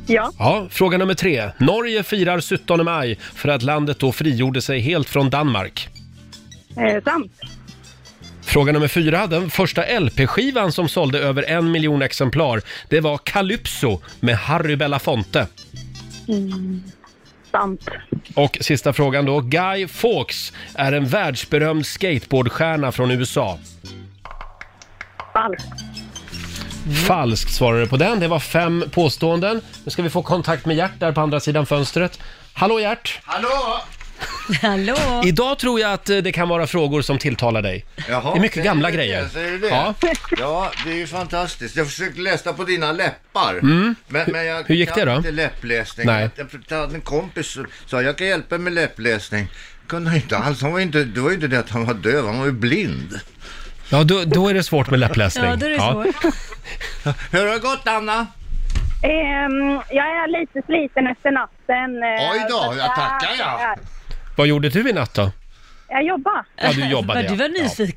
S10: Ja.
S1: Ja, fråga nummer tre. Norge firar 17 maj för att landet då frigjorde sig helt från Danmark.
S10: Eh, sant.
S1: Fråga nummer fyra. Den första LP-skivan som sålde över en miljon exemplar, det var Calypso med Harry Belafonte.
S10: Mm. Sant.
S1: Och sista frågan då. Guy Fawkes är en världsberömd skateboardstjärna från USA.
S10: Falskt.
S1: Falskt svarade du på den. Det var fem påståenden. Nu ska vi få kontakt med Gert där på andra sidan fönstret. Hallå Gert!
S18: Hallå!
S2: Hallå!
S1: Idag tror jag att eh, det kan vara frågor som tilltalar dig.
S18: Jaha,
S1: det är mycket
S18: säger
S1: gamla
S18: du
S1: grejer.
S18: Det, säger du det?
S1: Ja.
S18: Ja. det är ju fantastiskt. Jag försökte läsa på dina läppar.
S1: Mm.
S18: Men, men jag
S1: Hur gick
S18: kan
S1: det då?
S18: inte läppläsning.
S1: Nej.
S18: Jag jag hade en kompis som sa jag kan hjälpa dig med läppläsning. Kunde han inte alls. Han var inte, det var ju inte det att han var döv, han var ju blind.
S1: Ja, då, då är det svårt med läppläsning.
S10: Ja, då är det svårt.
S18: Hur har det gått Anna?
S10: Ehm, jag är lite sliten efter natten. eh,
S18: Oj då,
S10: så att
S18: jag tackar, ja.
S10: jag.
S1: Vad gjorde du i natt då?
S10: Jag jobbar.
S1: Ja, du jobbade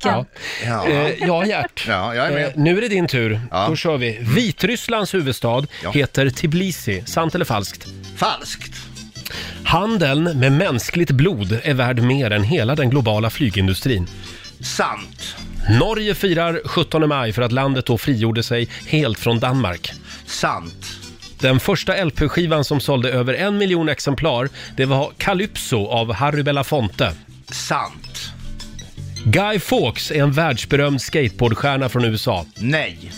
S1: ja. Ja, ja. Eh, ja Gert.
S18: Ja, jag är med.
S1: Eh, nu är det din tur. Då kör vi. Vitrysslands huvudstad heter Tbilisi. Sant eller falskt?
S18: Falskt.
S1: Handeln med mänskligt blod är värd mer än hela den globala flygindustrin.
S18: Sant.
S1: Norge firar 17 maj för att landet då frigjorde sig helt från Danmark.
S18: Sant.
S1: Den första LP-skivan som sålde över en miljon exemplar, det var Calypso av Harry Belafonte.
S18: Sant.
S1: Guy Fawkes är en världsberömd skateboardstjärna från USA.
S18: Nej.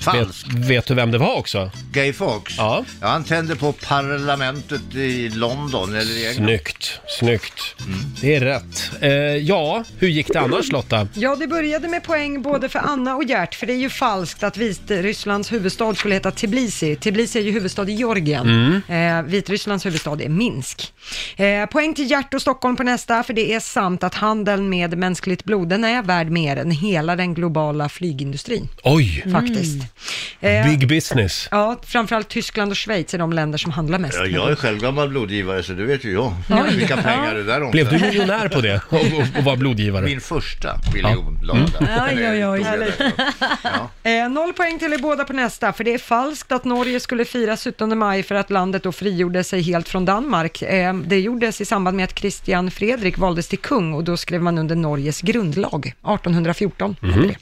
S18: Falskt.
S1: Vet, vet du vem det var också?
S18: Gay Fawkes? Ja. Han tände på parlamentet i London eller i England.
S1: Snyggt, snyggt.
S18: Mm.
S1: Det är rätt. Eh, ja, hur gick det annars Lotta?
S3: Ja, det började med poäng både för Anna och Gert, för det är ju falskt att Vitrysslands huvudstad skulle heta Tbilisi. Tbilisi är ju huvudstad i Georgien. Eh, Vitrysslands huvudstad är Minsk. Eh, poäng till Gert och Stockholm på nästa, för det är sant att handeln med mänskligt blod, den är värd mer än hela den globala flygindustrin.
S1: Oj!
S3: Faktiskt. Eh,
S1: Big business.
S3: Ja, framförallt Tyskland och Schweiz är de länder som handlar mest.
S18: Ja, jag är själv gammal blodgivare så det vet ju jag.
S3: Oj.
S18: Vilka pengar det där
S1: Blev du miljonär på det? Och, och, och var blodgivare?
S18: Min första miljon la jag där.
S3: Oj, oj, oj.
S18: Eller-
S3: Eh, noll poäng till er båda på nästa, för det är falskt att Norge skulle fira 17 maj för att landet då frigjorde sig helt från Danmark. Eh, det gjordes i samband med att Kristian Fredrik valdes till kung och då skrev man under Norges grundlag 1814.
S10: Mhm.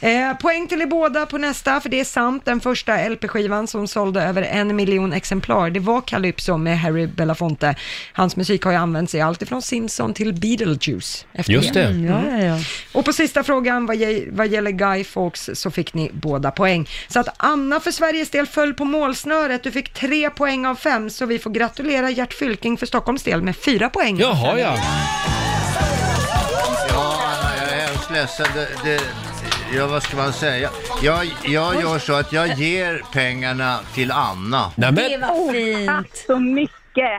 S3: Eh, poäng till er båda på nästa, för det är sant. Den första LP-skivan som sålde över en miljon exemplar, det var Calypso med Harry Belafonte. Hans musik har ju använts i allt ifrån Simpson till Beetlejuice. efter
S1: Just det. Mm, ja,
S2: ja, ja.
S3: Och på sista frågan vad, ge, vad gäller Guy Fawkes så fick ni båda poäng. Så att Anna för Sveriges del föll på målsnöret. Du fick tre poäng av fem, så vi får gratulera Gert Fylking för Stockholms del med fyra poäng.
S1: Jaha, ja.
S18: Ja, Anna, jag är hemskt ledsen. Det, det, ja, vad ska man säga? Jag, jag gör så att jag ger pengarna till Anna.
S1: Nämen,
S2: var fint.
S10: Oh, Tack så mycket.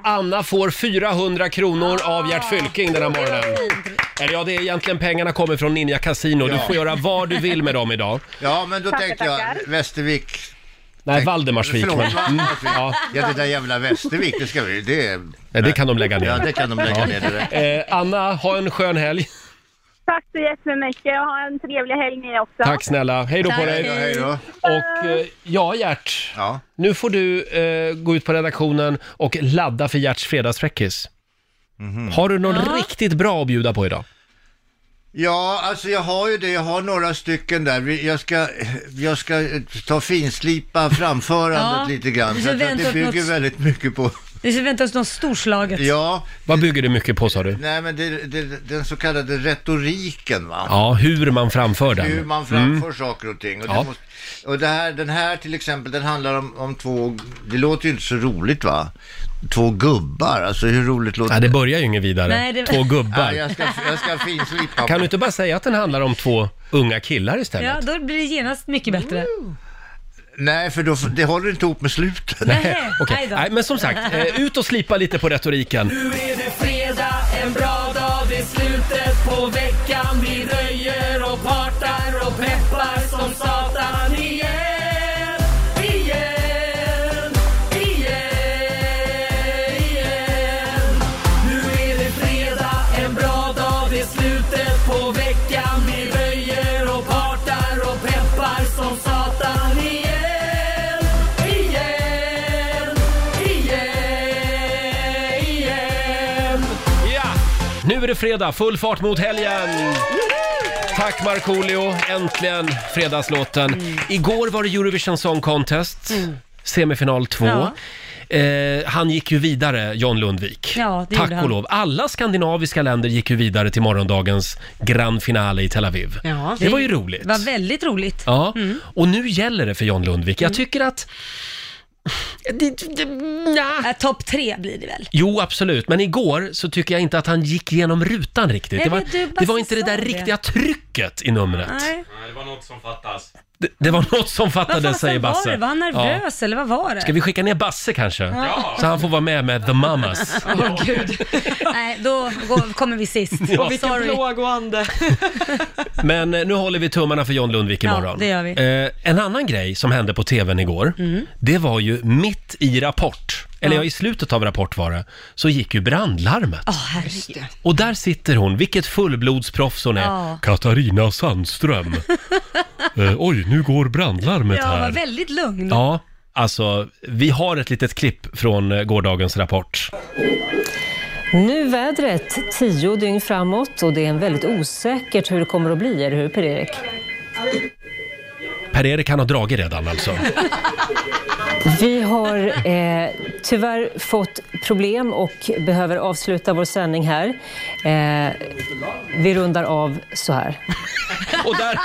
S10: Ah.
S1: Anna får 400 kronor av Gert Fylking den här morgonen. Eller ja, det är egentligen pengarna kommer från Ninja Casino. Du
S18: Ja.
S1: får göra vad du vill med dem idag.
S18: Ja, men då
S10: Tackar,
S18: tänkte jag Västervik.
S1: Nej, Valdemarsvik.
S18: Förlåt,
S1: men- Mm.
S18: Valdemarsvik.
S1: Ja.
S18: Ja, det där jävla Västervik, det ska vi... Det, är-
S1: Nej, det kan de lägga ner.
S18: Ja, det kan de lägga
S1: Ja.
S18: ner det där.
S1: Eh, Anna, ha en skön helg.
S10: Tack så jättemycket och ha en trevlig helg ni också.
S1: Tack snälla. Hej då på
S10: Tack.
S1: dig.
S10: Hej då, hej då.
S1: Och eh, ja, Gert.
S18: Ja.
S1: Nu får du eh, gå ut på redaktionen och ladda för Gerts fredagsfräckis.
S18: Mhm.
S1: Har du någon riktigt bra att bjuda på idag?
S18: Ja, alltså jag har ju det. Jag har några stycken där. Vi- Jag ska, jag ska ta finslipa framförandet
S2: Ja,
S18: lite grann.
S2: vi
S18: Så att
S2: förväntar
S18: det
S2: oss
S18: bygger
S2: något-
S18: väldigt mycket på
S2: Det förväntas något storslaget.
S18: Ja.
S1: Vad bygger det mycket på sa du?
S18: Nej, men det, det, den så kallade retoriken va.
S1: Ja, hur man framför den.
S18: Hur man framför
S1: Mm.
S18: saker och ting. Och,
S1: Ja.
S18: det måste, och det här, den här till exempel, den handlar om, om två, det låter ju inte så roligt va? Två gubbar, alltså hur roligt låter
S1: Nej, det börjar ju inget vidare.
S18: Nej, det-
S1: Två gubbar.
S18: Ja, jag ska- jag ska finslipa
S1: Kan du inte bara säga att den handlar om två unga killar istället?
S2: Ja, då blir det genast mycket bättre.
S18: Nej, för då, det håller inte ihop med slutet.
S1: Nej, okej.
S2: nej då.
S1: Nej, men som sagt, eh, ut och slipa lite på retoriken.
S5: Nu är det fredag, en bra dag, det är slutet på veckan. Vi röjer och partar och peppar som satan igen. Igen, igen, igen. Nu är det fredag, en bra dag, det är slutet på veckan. Vi röjer och partar och peppar som satan igen. Igen, igen, igen.
S1: Ja, nu är det fredag, full fart mot helgen! Tack Markoolio, äntligen fredagslåten.
S2: Mm.
S1: Igår var det Eurovision Song Contest, semifinal 2. Eh, han gick ju vidare, John Lundvik.
S2: Ja, det
S1: Tack
S2: gjorde han.
S1: och lov. Alla skandinaviska länder gick ju vidare till morgondagens grand finale i Tel Aviv. det, var ju roligt.
S2: Det var väldigt roligt.
S1: Ja,
S2: Mm.
S1: och nu gäller det för John Lundvik. Jag tycker att, Det,
S2: ja. Äh, Topp tre blir det väl?
S1: jo absolut, men igår så tycker jag inte att han gick igenom rutan riktigt.
S2: Nej,
S1: Det var,
S2: men du bara
S1: det var inte det
S2: sa
S1: där
S2: det.
S1: riktiga trycket i numret.
S2: Nej.
S4: det var något som fattas.
S1: Det, det var något som fattades, säger
S2: Vad
S1: Basse.
S2: var det? Var han
S1: Ja.
S2: nervös eller vad var det?
S1: Ska vi skicka ner Basse kanske?
S2: Ja.
S1: Så han får vara med med The Mamas.
S2: Åh gud. Nej, då går, kommer vi sist. Oh,
S1: Ja. Och vilken
S2: plågoande.
S1: Men eh, nu håller vi tummarna för John Lundvik
S2: Ja,
S1: imorgon.
S2: det gör vi. Mm.
S1: Eh, en annan grej som hände på tvn igår, det var ju mitt i Rapport, eller ja. i slutet av Rapport var det, så gick ju brandlarmet.
S2: herregud.
S1: Och där sitter hon, vilket fullblodsproffs hon är.
S2: Ja.
S1: Katarina Sandström. eh, oj, nu går brandlarmet
S2: Ja, var
S1: här.
S2: väldigt lugn.
S1: Ja, alltså vi har ett litet klipp från eh, gårdagens Rapport.
S6: Nu vädret, tio dygn framåt och det är en väldigt osäkert hur det kommer att bli, eller hur Per-Erik?
S1: Per-Erik han har dragit redan alltså.
S6: Vi har eh, tyvärr fått problem och behöver avsluta vår sändning här. Eh, vi rundar av så här.
S1: Och där,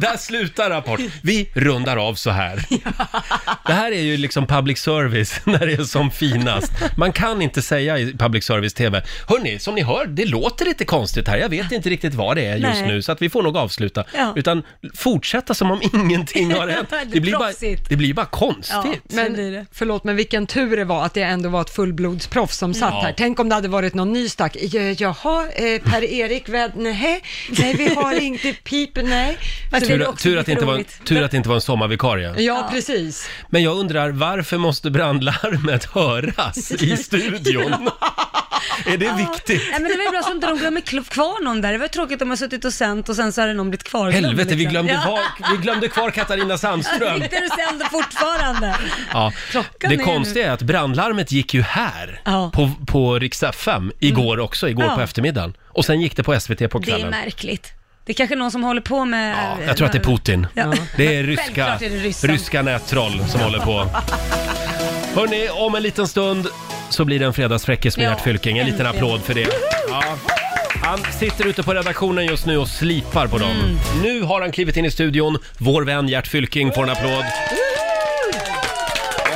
S1: där slutar Rapport. Vi rundar av så här. Det här är ju liksom public service när det är som finast. Man kan inte säga i public service TV. Hörni, som ni hör, det låter lite konstigt här. Jag vet inte riktigt vad det är just
S2: Nej.
S1: nu, så att vi får nog avsluta.
S2: Ja.
S1: Utan fortsätta som om ingenting har hänt.
S3: Det är
S1: Det blir bara,
S3: proffsigt.
S1: det blir bara konstigt.
S3: men, förlåt, men vilken tur det var att det ändå var ett fullblodsproffs som satt
S1: Ja.
S3: här. Tänk om det hade varit någon ny stack. J- Jaha, eh, Per-Erik, väd- nej, nej, vi har inte pip, nej. Så det är
S1: Tur,
S3: också
S1: tur,
S3: lite
S1: att det inte var,
S3: roligt.
S1: tur att det inte var en sommarvikarie.
S3: Ja, precis.
S1: Men jag undrar, varför måste brandlarmet höras i studion? Är det viktigt?
S2: Nej, men det var ju bra så inte de glömmer kl- kvar någon där. Det var tråkigt om man suttit och sänt och sen så hade någon blivit kvar.
S1: Helvete, vi glömde,
S2: Ja.
S1: var, vi glömde kvar Katarina Sandström.
S2: Sitter du sänder fortfarande?
S1: Ja.
S2: Klockan
S1: Det
S2: är nu.
S1: konstiga är att brandlarmet gick ju här
S2: Ja. Mm.
S1: på, på Rix FM igår också, igår
S2: Ja.
S1: på eftermiddagen. Och sen gick det på SVT på
S2: Det är
S1: kvällen.
S2: märkligt. Det är kanske någon som håller på med... eh,
S1: Jag tror att det är Putin.
S2: Ja.
S1: Det är ryska,
S2: Självklart är det ryssen.
S1: ryska nättroll som håller på. Hörni, om en liten stund så blir det en fredagsfräckis med
S5: Ja,
S1: Gert Fylking. En liten
S5: äntligen.
S1: applåd för det. Ja. Han sitter ute på redaktionen just nu och slipar på dem.
S2: Mm.
S1: Nu har han klivit in i studion. Vår vän Gert Fylking får en applåd.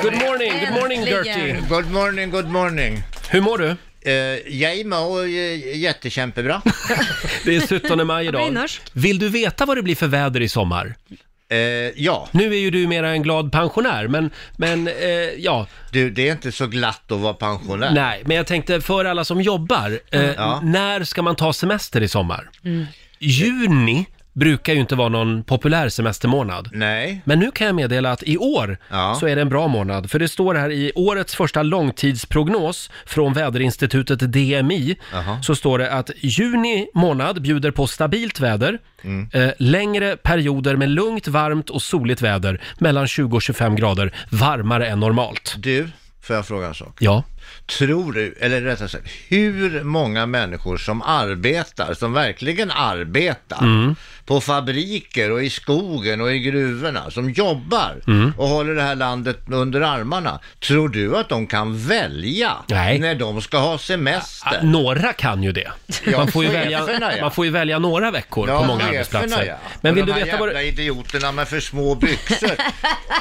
S1: Good morning, good morning Gertie.
S18: Good morning, good morning. Eh,
S1: Hur mår du?
S18: jag mår uh, jättekämpebra.
S1: Det är 17 maj
S18: Jag blir
S1: idag.
S18: norsk.
S1: Vill du veta vad det blir för väder i sommar?
S18: Eh, ja.
S1: Nu är ju du mera en glad pensionär, men, men eh, ja.
S18: Du, det är inte så glatt att vara pensionär. Mm,
S1: Nej, men jag tänkte för alla som jobbar, eh,
S18: Ja.
S1: när ska man ta semester i sommar?
S5: Mm.
S1: Juni brukar ju inte vara någon populär semestermånad.
S18: Nej.
S1: Men nu kan jag meddela att i år så är det en bra månad. För det står här i årets första långtidsprognos från väderinstitutet DMI, så står det att juni månad bjuder på stabilt väder, eh, längre perioder med lugnt, varmt och soligt väder, mellan 20 och 25 grader, varmare än normalt.
S18: Du, får jag fråga en sak?
S1: Ja.
S18: Tror du, eller rättare sagt, hur många människor som arbetar, som verkligen arbetar,
S1: Mm.
S18: på fabriker och i skogen och i gruvorna, som jobbar
S5: Mm.
S18: och håller det här landet under armarna. Tror du att de kan välja
S1: Nej.
S18: när de ska ha semester?
S1: Ah, Några kan ju det.
S18: Ja,
S1: Man får ju välja,
S18: cheferna, ja.
S1: man får ju välja några veckor på många arbetsplatser.
S18: Ja.
S1: Men vill
S18: och
S1: du
S18: de här
S1: veta vad
S18: jävla idioterna med för små byxor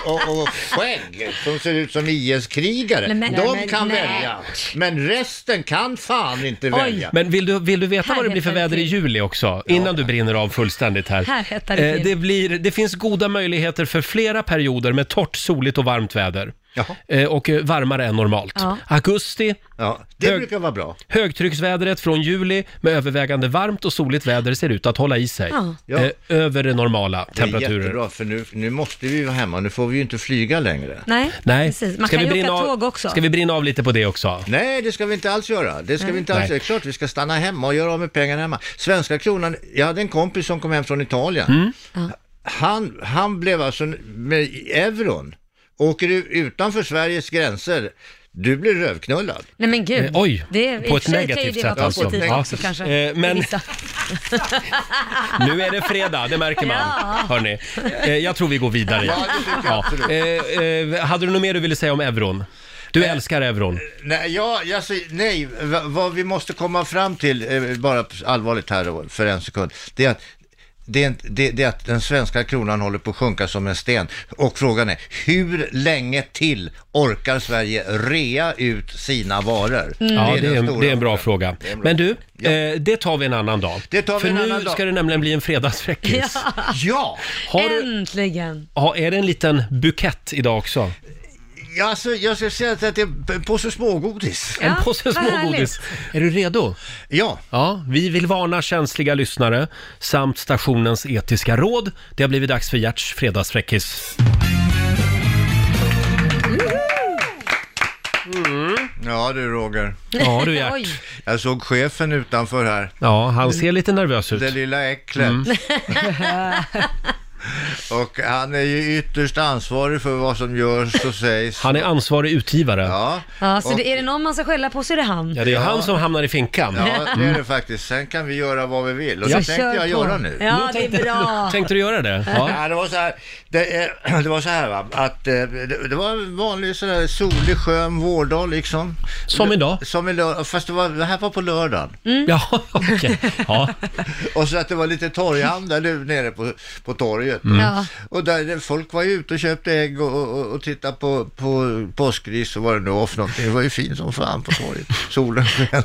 S18: och, och skägg som ser ut som IS-krigare.
S1: Men- men-
S18: De
S1: men-
S18: kan
S1: nej.
S18: välja. Men resten kan fan inte välja.
S1: Men vill du, vill du veta vad det blir för väder i juli också? Innan du brinner av fullständigt här.
S2: Här hettar det till.
S1: Eh, det, blir, det finns goda möjligheter för flera perioder med torrt, soligt och varmt väder. Eh, och eh, varmare än normalt.
S5: Ja.
S1: Augusti.
S18: det brukar vara bra.
S1: Högtrycksvädret från juli med övervägande varmt och soligt väder ser ut att hålla i sig.
S18: Ja. Ja.
S1: Eh, över det normala
S18: Det är
S1: temperaturer.
S18: jättebra, för nu, nu måste vi ju vara hemma. Nu får vi ju inte flyga längre.
S2: Nej,
S1: Nej.
S2: precis. Man kan ju åka tåg också.
S1: Ska vi brinna av lite på det också?
S18: Nej, det ska vi inte alls göra. Det ska
S1: Nej.
S18: vi inte alls
S1: Nej.
S18: göra. Klart vi ska stanna hemma och göra av med pengarna hemma. Svenska kronan, jag hade en kompis som kom hem från Italien.
S1: Mm.
S18: Han, han blev alltså, med euron, åker du utanför Sveriges gränser, du blir rövknullad.
S2: Nej men gud.
S18: Eh, oj,
S2: det, är- i
S18: på
S2: och
S18: ett
S2: för sig kan ju
S18: negativt
S2: det
S18: sätt
S2: vara
S18: alltså.
S2: positivt
S18: Ja.
S2: också kanske.
S1: Eh, men-
S2: i vissa.
S1: Nu är det fredag, det märker man.
S2: Ja.
S1: Hörni, eh, jag tror vi går vidare.
S18: Ja, det tycker jag absolut.
S1: Eh, eh, hade du något mer du ville säga om euron? Du
S18: Eh,
S1: älskar euron.
S18: Nej, ja, jag säger, nej, va- vad vi måste komma fram till, eh, bara allvarligt här då, för en sekund, det är att det är, inte- det, det är att den svenska kronan håller på att sjunka som en sten. Och frågan är, hur länge till orkar Sverige rea ut sina varor?
S1: Mm. Ja, det är,
S18: den
S1: en,
S18: stora
S1: det är en bra fråga. Men du,
S18: Ja.
S1: eh, det tar vi en annan dag.
S18: Det tar vi
S1: För
S18: en
S1: nu
S18: annan dag.
S1: ska det nämligen bli en fredagsfräckis.
S18: Ja!
S1: Har du-
S2: Äntligen!
S1: Ja, är det en liten bukett idag också?
S18: Ja, Alltså, jag ska säga att det är en påse smågodis.
S1: En påse smågodis. Är du redo?
S18: Ja.
S1: ja. Vi vill varna känsliga lyssnare samt stationens etiska råd. Det har blivit dags för Gerts fredagsfräckis.
S18: Mm. Ja du Roger.
S1: Ja, du, Gert. Oj.
S18: Jag såg chefen utanför här.
S1: Ja, han ser lite nervös ut. Mm.
S18: Det lilla äcklet. Och han är ju ytterst ansvarig för vad som görs och sägs.
S1: Han är ansvarig utgivare.
S18: Ja,
S2: Ja, så
S18: och-
S2: det, är det någon man ska skälla på så är det han.
S1: Ja, det är han som hamnar i finkan.
S18: Ja, det är
S1: Mm.
S18: det faktiskt. Sen kan vi göra vad vi vill. Och
S1: Ja.
S18: det tänkte
S1: Kör
S18: jag
S1: på.
S18: göra nu.
S2: Ja, det är bra.
S1: Tänkte du göra det? Ja.
S18: det var så här, det, eh, det var så här va, att eh, det, det var en vanlig sån här solig, skön vårdag liksom.
S1: Som idag?
S18: Som idag, fast det, var, det här var på lördagen.
S2: Mm.
S1: Ja, okej. Ja.
S18: och så att det var lite torghandel nu nere på, på torget.
S5: Mm. Ja.
S18: Och där folk var ju ute och köpte ägg och, och, och tittade på, på påskris och vad det nu var för någonting. Det var ju fint som fan på torget. Solen sken.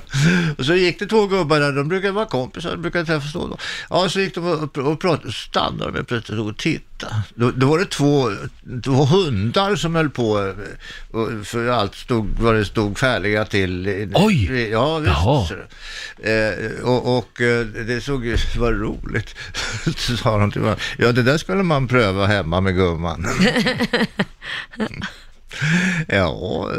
S18: Och så gick det två gubbar där, de brukar vara kompisar, de brukar träffas då och då. Ja, så gick de och, pr- och pratade, så stannade de plötsligt och tittade. Då, då var det två, två hundar som höll på, eh, och, för allt stod, vad det stod färdiga till. Oj! Ja, visst.
S5: Jaha.
S18: så- Eh, och och eh, det såg ju, vad roligt, så sa de till varandra. Ja, det där skulle man pröva hemma med gumman. Ja,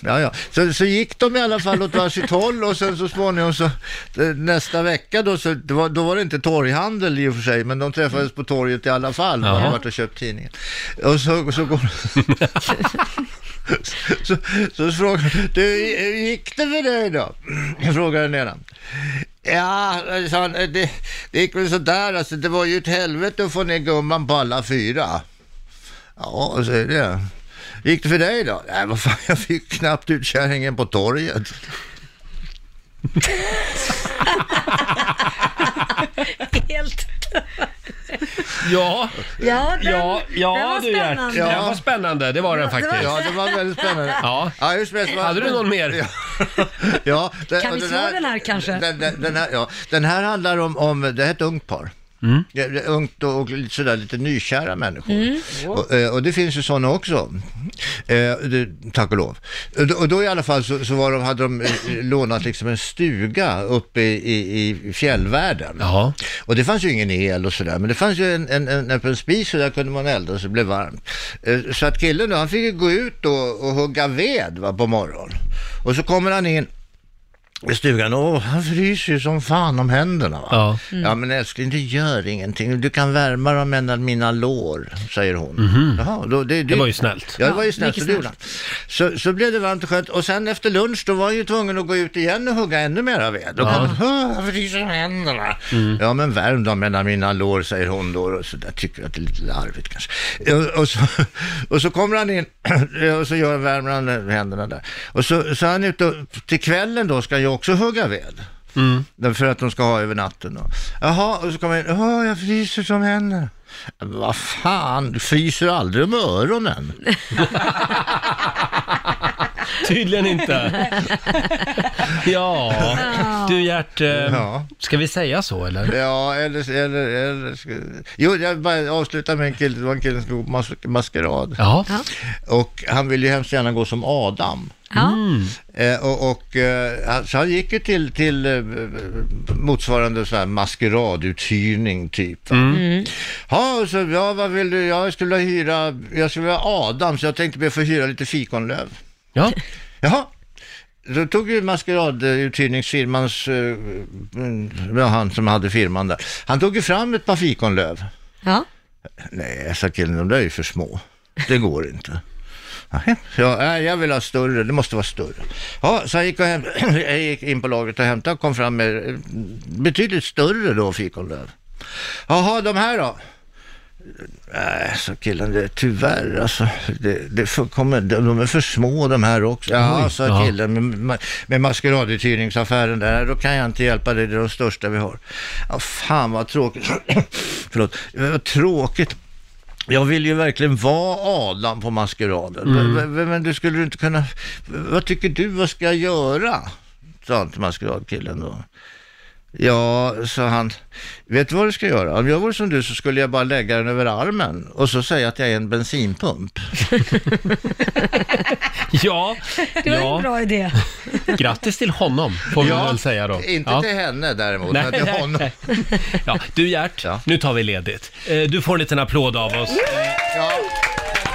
S18: ja, ja. Så, så gick de i alla fall åt varsitt håll och sen så småningom så nästa vecka då, så, det var, då var det inte torghandel i och för sig, men de träffades på torget i alla fall. De
S5: Jaha.
S18: hade varit och köpt tidningen. Och så, så går så, så frågar du, hur gick det för dig då? Jag frågar den ena. Ja, sa han, det, det gick väl sådär alltså, det var ju ett helvete att få ner gumman på alla fyra. Ja, så är det. Gick det för dig då? Nej, vad fan, jag fick knappt ut kärringen på torget.
S2: Helt.
S1: Ja,
S2: Ja, den-
S1: ja, ja
S2: den var
S1: du Gert.
S2: spännande.
S1: Ja. Den var spännande, det var den faktiskt.
S18: Ja, det var väldigt spännande.
S1: Ja.
S18: Ja, hur som helst, vad-
S1: Hade du någon mer?
S18: Ja, den-
S2: Kan vi
S18: och
S2: slå den här kanske?
S18: Den, den, den, här, ja. den här handlar om, om det här är ett ungt par. Det- det är Ungt och, och lite sådär lite nykära människor. Och, eh, och det finns ju sådana också, eh, det, tack och lov. Och då- Och då i alla fall så, så var de, hade de eh, lånat liksom en stuga uppe i, i, i fjällvärlden. Och det fanns ju ingen el och sådär, men det fanns ju en, en, en öppen spis och där kunde man elda och så blev det varmt. Eh, Så att killen då, han fick ju gå ut och, och hugga ved va, på morgonen. Och så kommer han in i stugan, åh, han fryser ju som fan om händerna. Va? Ja.
S1: Mm.
S18: ja, men älskling, det gör ingenting. Du kan värma dem mellan mina lår, säger hon.
S1: Mhm.
S18: Jaha, då, det,
S1: Det var ju snällt.
S18: Ja, det var ju
S1: Ja,
S18: snällt.
S1: mycket
S18: så det gjorde han. Så, så blev det varmt och skönt. Och sen efter lunch, då var han ju tvungen att gå ut igen och hugga ännu mera ved. Då
S5: Ja.
S18: kom han, "Åh, jag fryser om händerna. Ja, men värm dem mellan mina lår, säger hon då. Och så där tycker jag att det är lite larvigt kanske. Eh, Och, och, så, och så kommer han in eh, och så gör, värmer han händerna där. Och så, så är han ute och, till kvällen då ska han ju också hugga ved. Mm. För att de ska ha över natten då. Jaha, och så kommer han in. Åh, jag fryser som händerna. Vad fan, du fryser aldrig om öronen.
S1: Tydligen inte. Ja, du Gert, eh, ska vi säga så eller?
S18: Ja, eller... eller, eller ska- jo, jag bara avslutar med en kille, det var en kille som skulle gå på mas- maskerad.
S1: Ja.
S18: Och han ville ju hemskt gärna gå som Adam.
S1: Mm.
S18: Eh, och, och, eh, han- så han gick ju till, till eh, motsvarande så här maskeraduthyrning typ. va.
S5: Mm.
S18: Ja, och så, ja, vad vill du? Ja, jag skulle vilja hyra, jag skulle vilja ha Adam, så jag tänkte be få hyra lite fikonlöv.
S1: Ja.
S18: Jaha. Då tog ju maskeraduthyrningsfirmans, eh, ja, han som hade firman där, han tog ju fram ett par fikonlöv.
S2: Ja.
S18: Nej, sa killen, de där är ju för små. Det går inte. Nej, Ja, nej, jag vill ha större, det måste vara större. Ja, så jag gick, och hem, jag gick in på lagret och hämtade och kom fram med eh, betydligt större då fikonlöv. Jaha, de här då? Nej, så killen, det, tyvärr alltså. Det, det får- kommer, de, de är för små de här också. Ja,
S5: Oj.
S18: sa
S5: Ja.
S18: killen med, med, med maskeraduthyrningsaffären där. Då kan jag inte hjälpa dig, det är de största vi har. Ja, fan vad tråkigt. Förlåt, vad tråkigt. Jag vill ju verkligen vara Adam på maskeraden.
S5: Mm.
S18: V- v- Men du skulle du inte kunna... Vad tycker du, vad ska jag göra? Sa han till maskeradkillen då. Ja, sa han, vet du vad du ska göra? Om jag vore som du så skulle jag bara lägga den över armen och så säga att jag är en bensinpump.
S1: ja,
S2: Det var
S1: Ja.
S2: en bra idé.
S1: grattis till honom får vi
S18: Ja,
S1: väl säga då.
S18: inte till henne däremot,
S1: Nej,
S18: men till
S1: nej.
S18: honom.
S1: Ja, du Gert, nu tar vi ledigt. Eh, Du får en liten applåd av oss.
S18: Ja.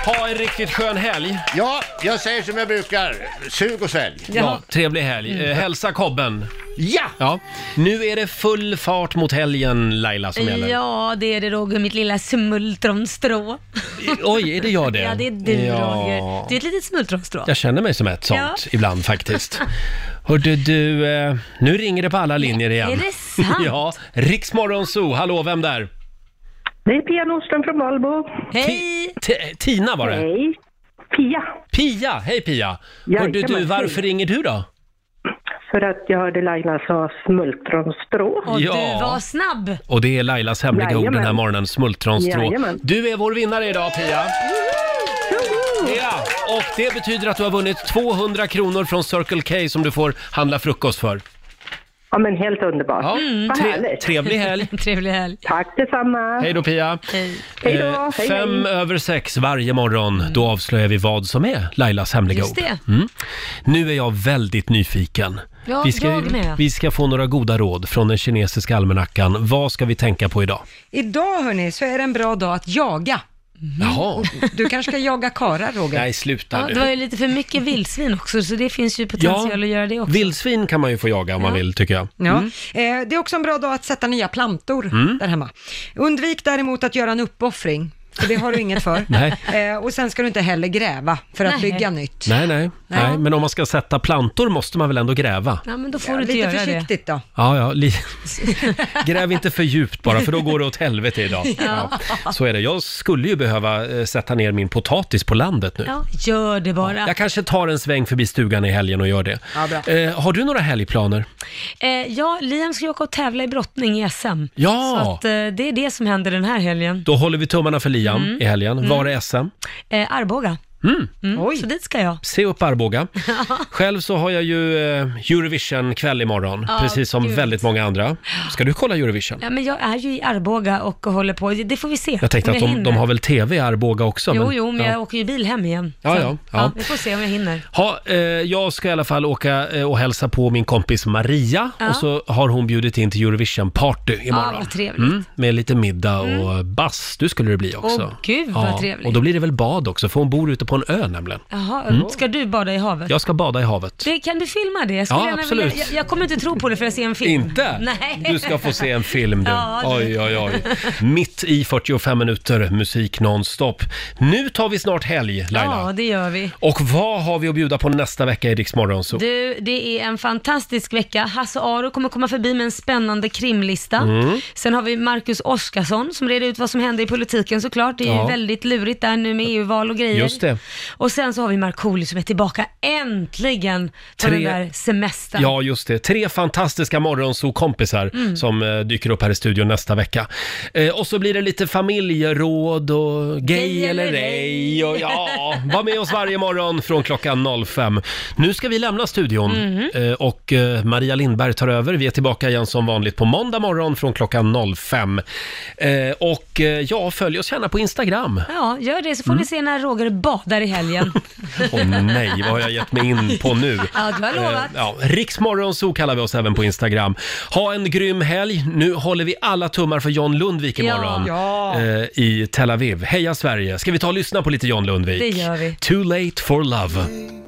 S1: Ha en riktigt skön helg.
S18: Ja, jag säger som jag brukar. Sug och svälj.
S1: Ja, trevlig
S2: Mm.
S1: helg. Eh, Hälsa Kobben.
S18: Ja!
S1: ja! Nu är det full fart mot helgen Laila som gäller.
S2: Ja, det är det Roger, mitt lilla smultronstrå.
S1: Oj, är det jag det?
S2: Ja, det är du
S1: Ja.
S2: Roger. Du är ett litet smultronstrå.
S1: Jag känner mig som ett sånt
S2: Ja.
S1: ibland faktiskt. Hörde du, eh, nu ringer det på alla linjer igen.
S2: är det sant?
S1: ja, Riksmorgon Zoo, hallå, vem där?
S15: Det är Pia Nordström från Valbo.
S1: Hej! Tina var det.
S15: Hej. Pia.
S1: Pia, hej Pia! Hörde
S15: Jajamän,
S1: du,
S15: hej.
S1: varför ringer du då?
S15: För att jag hörde Laila sa smultronstrå.
S1: Och du Ja. var
S2: snabb.
S1: Och det är Lailas hemliga
S15: Jajamän.
S1: ord den här morgonen, smultronstrå.
S15: Jajamän.
S1: Du är vår vinnare idag Pia! Ja, och det betyder att du har vunnit 200 kronor från Circle K som du får handla frukost för.
S15: Ja men helt underbart.
S1: Ja,
S15: Vad
S1: tre-
S15: härligt.
S1: trevlig helg.
S2: Trevlig helg.
S15: Tack detsamma.
S1: Hej då Pia!
S15: Hej då.
S1: Eh,
S15: hej,
S1: Fem
S15: hej.
S1: över sex varje morgon, då avslöjar vi vad som är Lailas hemliga
S2: Just
S1: ord.
S2: det.
S1: Mm. Nu är jag väldigt nyfiken.
S2: Ja,
S1: vi, ska,
S2: jag med.
S1: vi ska få några goda råd från den kinesiska almanackan. Vad ska vi tänka på idag?
S3: Idag hörni, så är det en bra dag att jaga.
S1: Jaha.
S3: Du kanske ska jaga karar, Roger?
S1: Nej, sluta
S2: Mhm. Ja,
S1: nu.
S2: det var ju lite för mycket vildsvin också, så det finns ju potential att göra det också.
S1: vildsvin kan man ju få jaga om man vill, tycker jag.
S3: Ja, eh, det är också en bra dag att sätta nya plantor
S1: Mm.
S3: där hemma. Undvik däremot att göra en uppoffring, för det har du inget för.
S1: Nej.
S3: Eh, och sen ska du inte heller gräva för att
S2: Nej.
S3: bygga nytt.
S1: Nej, nej, nej.
S3: Ja.
S1: Men om man ska sätta plantor måste man väl ändå gräva?
S2: Ja, men då får
S3: Ja,
S2: du inte
S3: lite
S2: göra det.
S3: försiktigt då.
S1: Ja, ja. Li... Gräv inte för djupt bara, för då går det åt helvete idag.
S2: Ja.
S1: Så är det. Jag skulle ju behöva eh, sätta ner min potatis på landet nu.
S2: Ja, gör det bara.
S1: Jag kanske tar en sväng förbi stugan i helgen och gör det.
S2: Ja, bra.
S1: Eh, har du några helgplaner?
S2: Eh, ja, Liam ska ju åka och tävla i brottning i SM.
S1: Ja!
S2: Så att, eh, det är det som händer den här helgen.
S1: Då håller vi tummarna för Liam
S2: Mm.
S1: i helgen.
S2: Mm.
S1: Var är SM?
S2: Eh, Arboga.
S1: Mm.
S2: Mm, så dit ska jag.
S1: Se upp Arboga. Själv så har jag ju eh, Eurovision-kväll imorgon,
S2: Ja,
S1: precis som
S2: gud.
S1: väldigt många andra. Ska du kolla Eurovision?
S2: Ja, men jag är ju i Arboga och håller på. Det får vi se.
S1: Jag tänkte
S2: om
S1: att de,
S2: hinner.
S1: de har väl TV i Arboga också?
S2: Jo,
S1: men-
S2: jo, men
S1: ja.
S2: jag åker ju bil hem igen.
S1: Ja,
S2: Så,
S1: ja, ja.
S2: Vi får se om jag hinner.
S1: Ha, eh, jag ska i alla fall åka eh, och hälsa på min kompis Maria
S2: Ja.
S1: och så har hon bjudit in till Eurovision-party imorgon.
S2: Ja, vad trevligt. Mm.
S1: Mm, med lite middag och bastu skulle det bli också.
S2: Åh, gud, vad trevligt.
S1: Och då blir det väl bad också, för hon bor ute på på en ö nämligen.
S2: Jaha,
S1: Mm.
S2: ska du bada i havet?
S1: Jag ska bada i havet.
S2: Det, kan du filma det? Jag, skulle
S1: Ja,
S2: gärna
S1: absolut.
S2: Vilja, jag, jag kommer inte tro på det för jag ser en film.
S1: Inte?
S2: Nej.
S1: Du ska få se en film du.
S2: Ja, du.
S1: Oj, oj, oj. Mitt i 45 minuter musik nonstop. Nu tar vi snart helg, Laila.
S2: Ja, det gör vi.
S1: Och vad har vi att bjuda på nästa vecka i Rix Morgon Zoo?
S2: Du, det är en fantastisk vecka. Hasse Aro kommer komma förbi med en spännande krimlista.
S1: Mm.
S2: Sen har vi Marcus Oskarsson som reder ut vad som händer i politiken såklart. Det är
S1: Ja.
S2: ju väldigt lurigt där nu med EU-val och grejer.
S1: Just det.
S2: Och sen så har vi Markoolio som är tillbaka äntligen på
S1: Tre-
S2: den där semestern.
S1: Ja, just det. Tre fantastiska morgonsokompisar
S2: Mm.
S1: som eh, dyker upp här i studion nästa vecka. Eh, och så blir det lite familjeråd och gay eller ej. Och, ja, var med oss varje morgon från klockan 05. Nu ska vi lämna studion
S5: Mhm.
S1: eh, och eh, Maria Lindberg tar över. Vi är tillbaka igen som vanligt på måndag morgon från klockan 05. Eh, och eh, ja, följ oss gärna på Instagram.
S2: Ja, gör det så får
S1: Mm.
S2: ni se när Roger badar i helgen.
S1: Åh nej, vad har jag gett mig in på nu?
S2: Ja, du har lovat.
S1: Eh, ja, Riksmorgonzoo kallar vi oss även på Instagram. Ha en grym helg. Nu håller vi alla tummar för John Lundvik
S5: Ja.
S1: imorgon
S5: Ja.
S1: eh, i Tel Aviv. Heja Sverige! Ska vi ta och lyssna på lite John Lundvik?
S5: Det gör vi.
S1: Too late for love.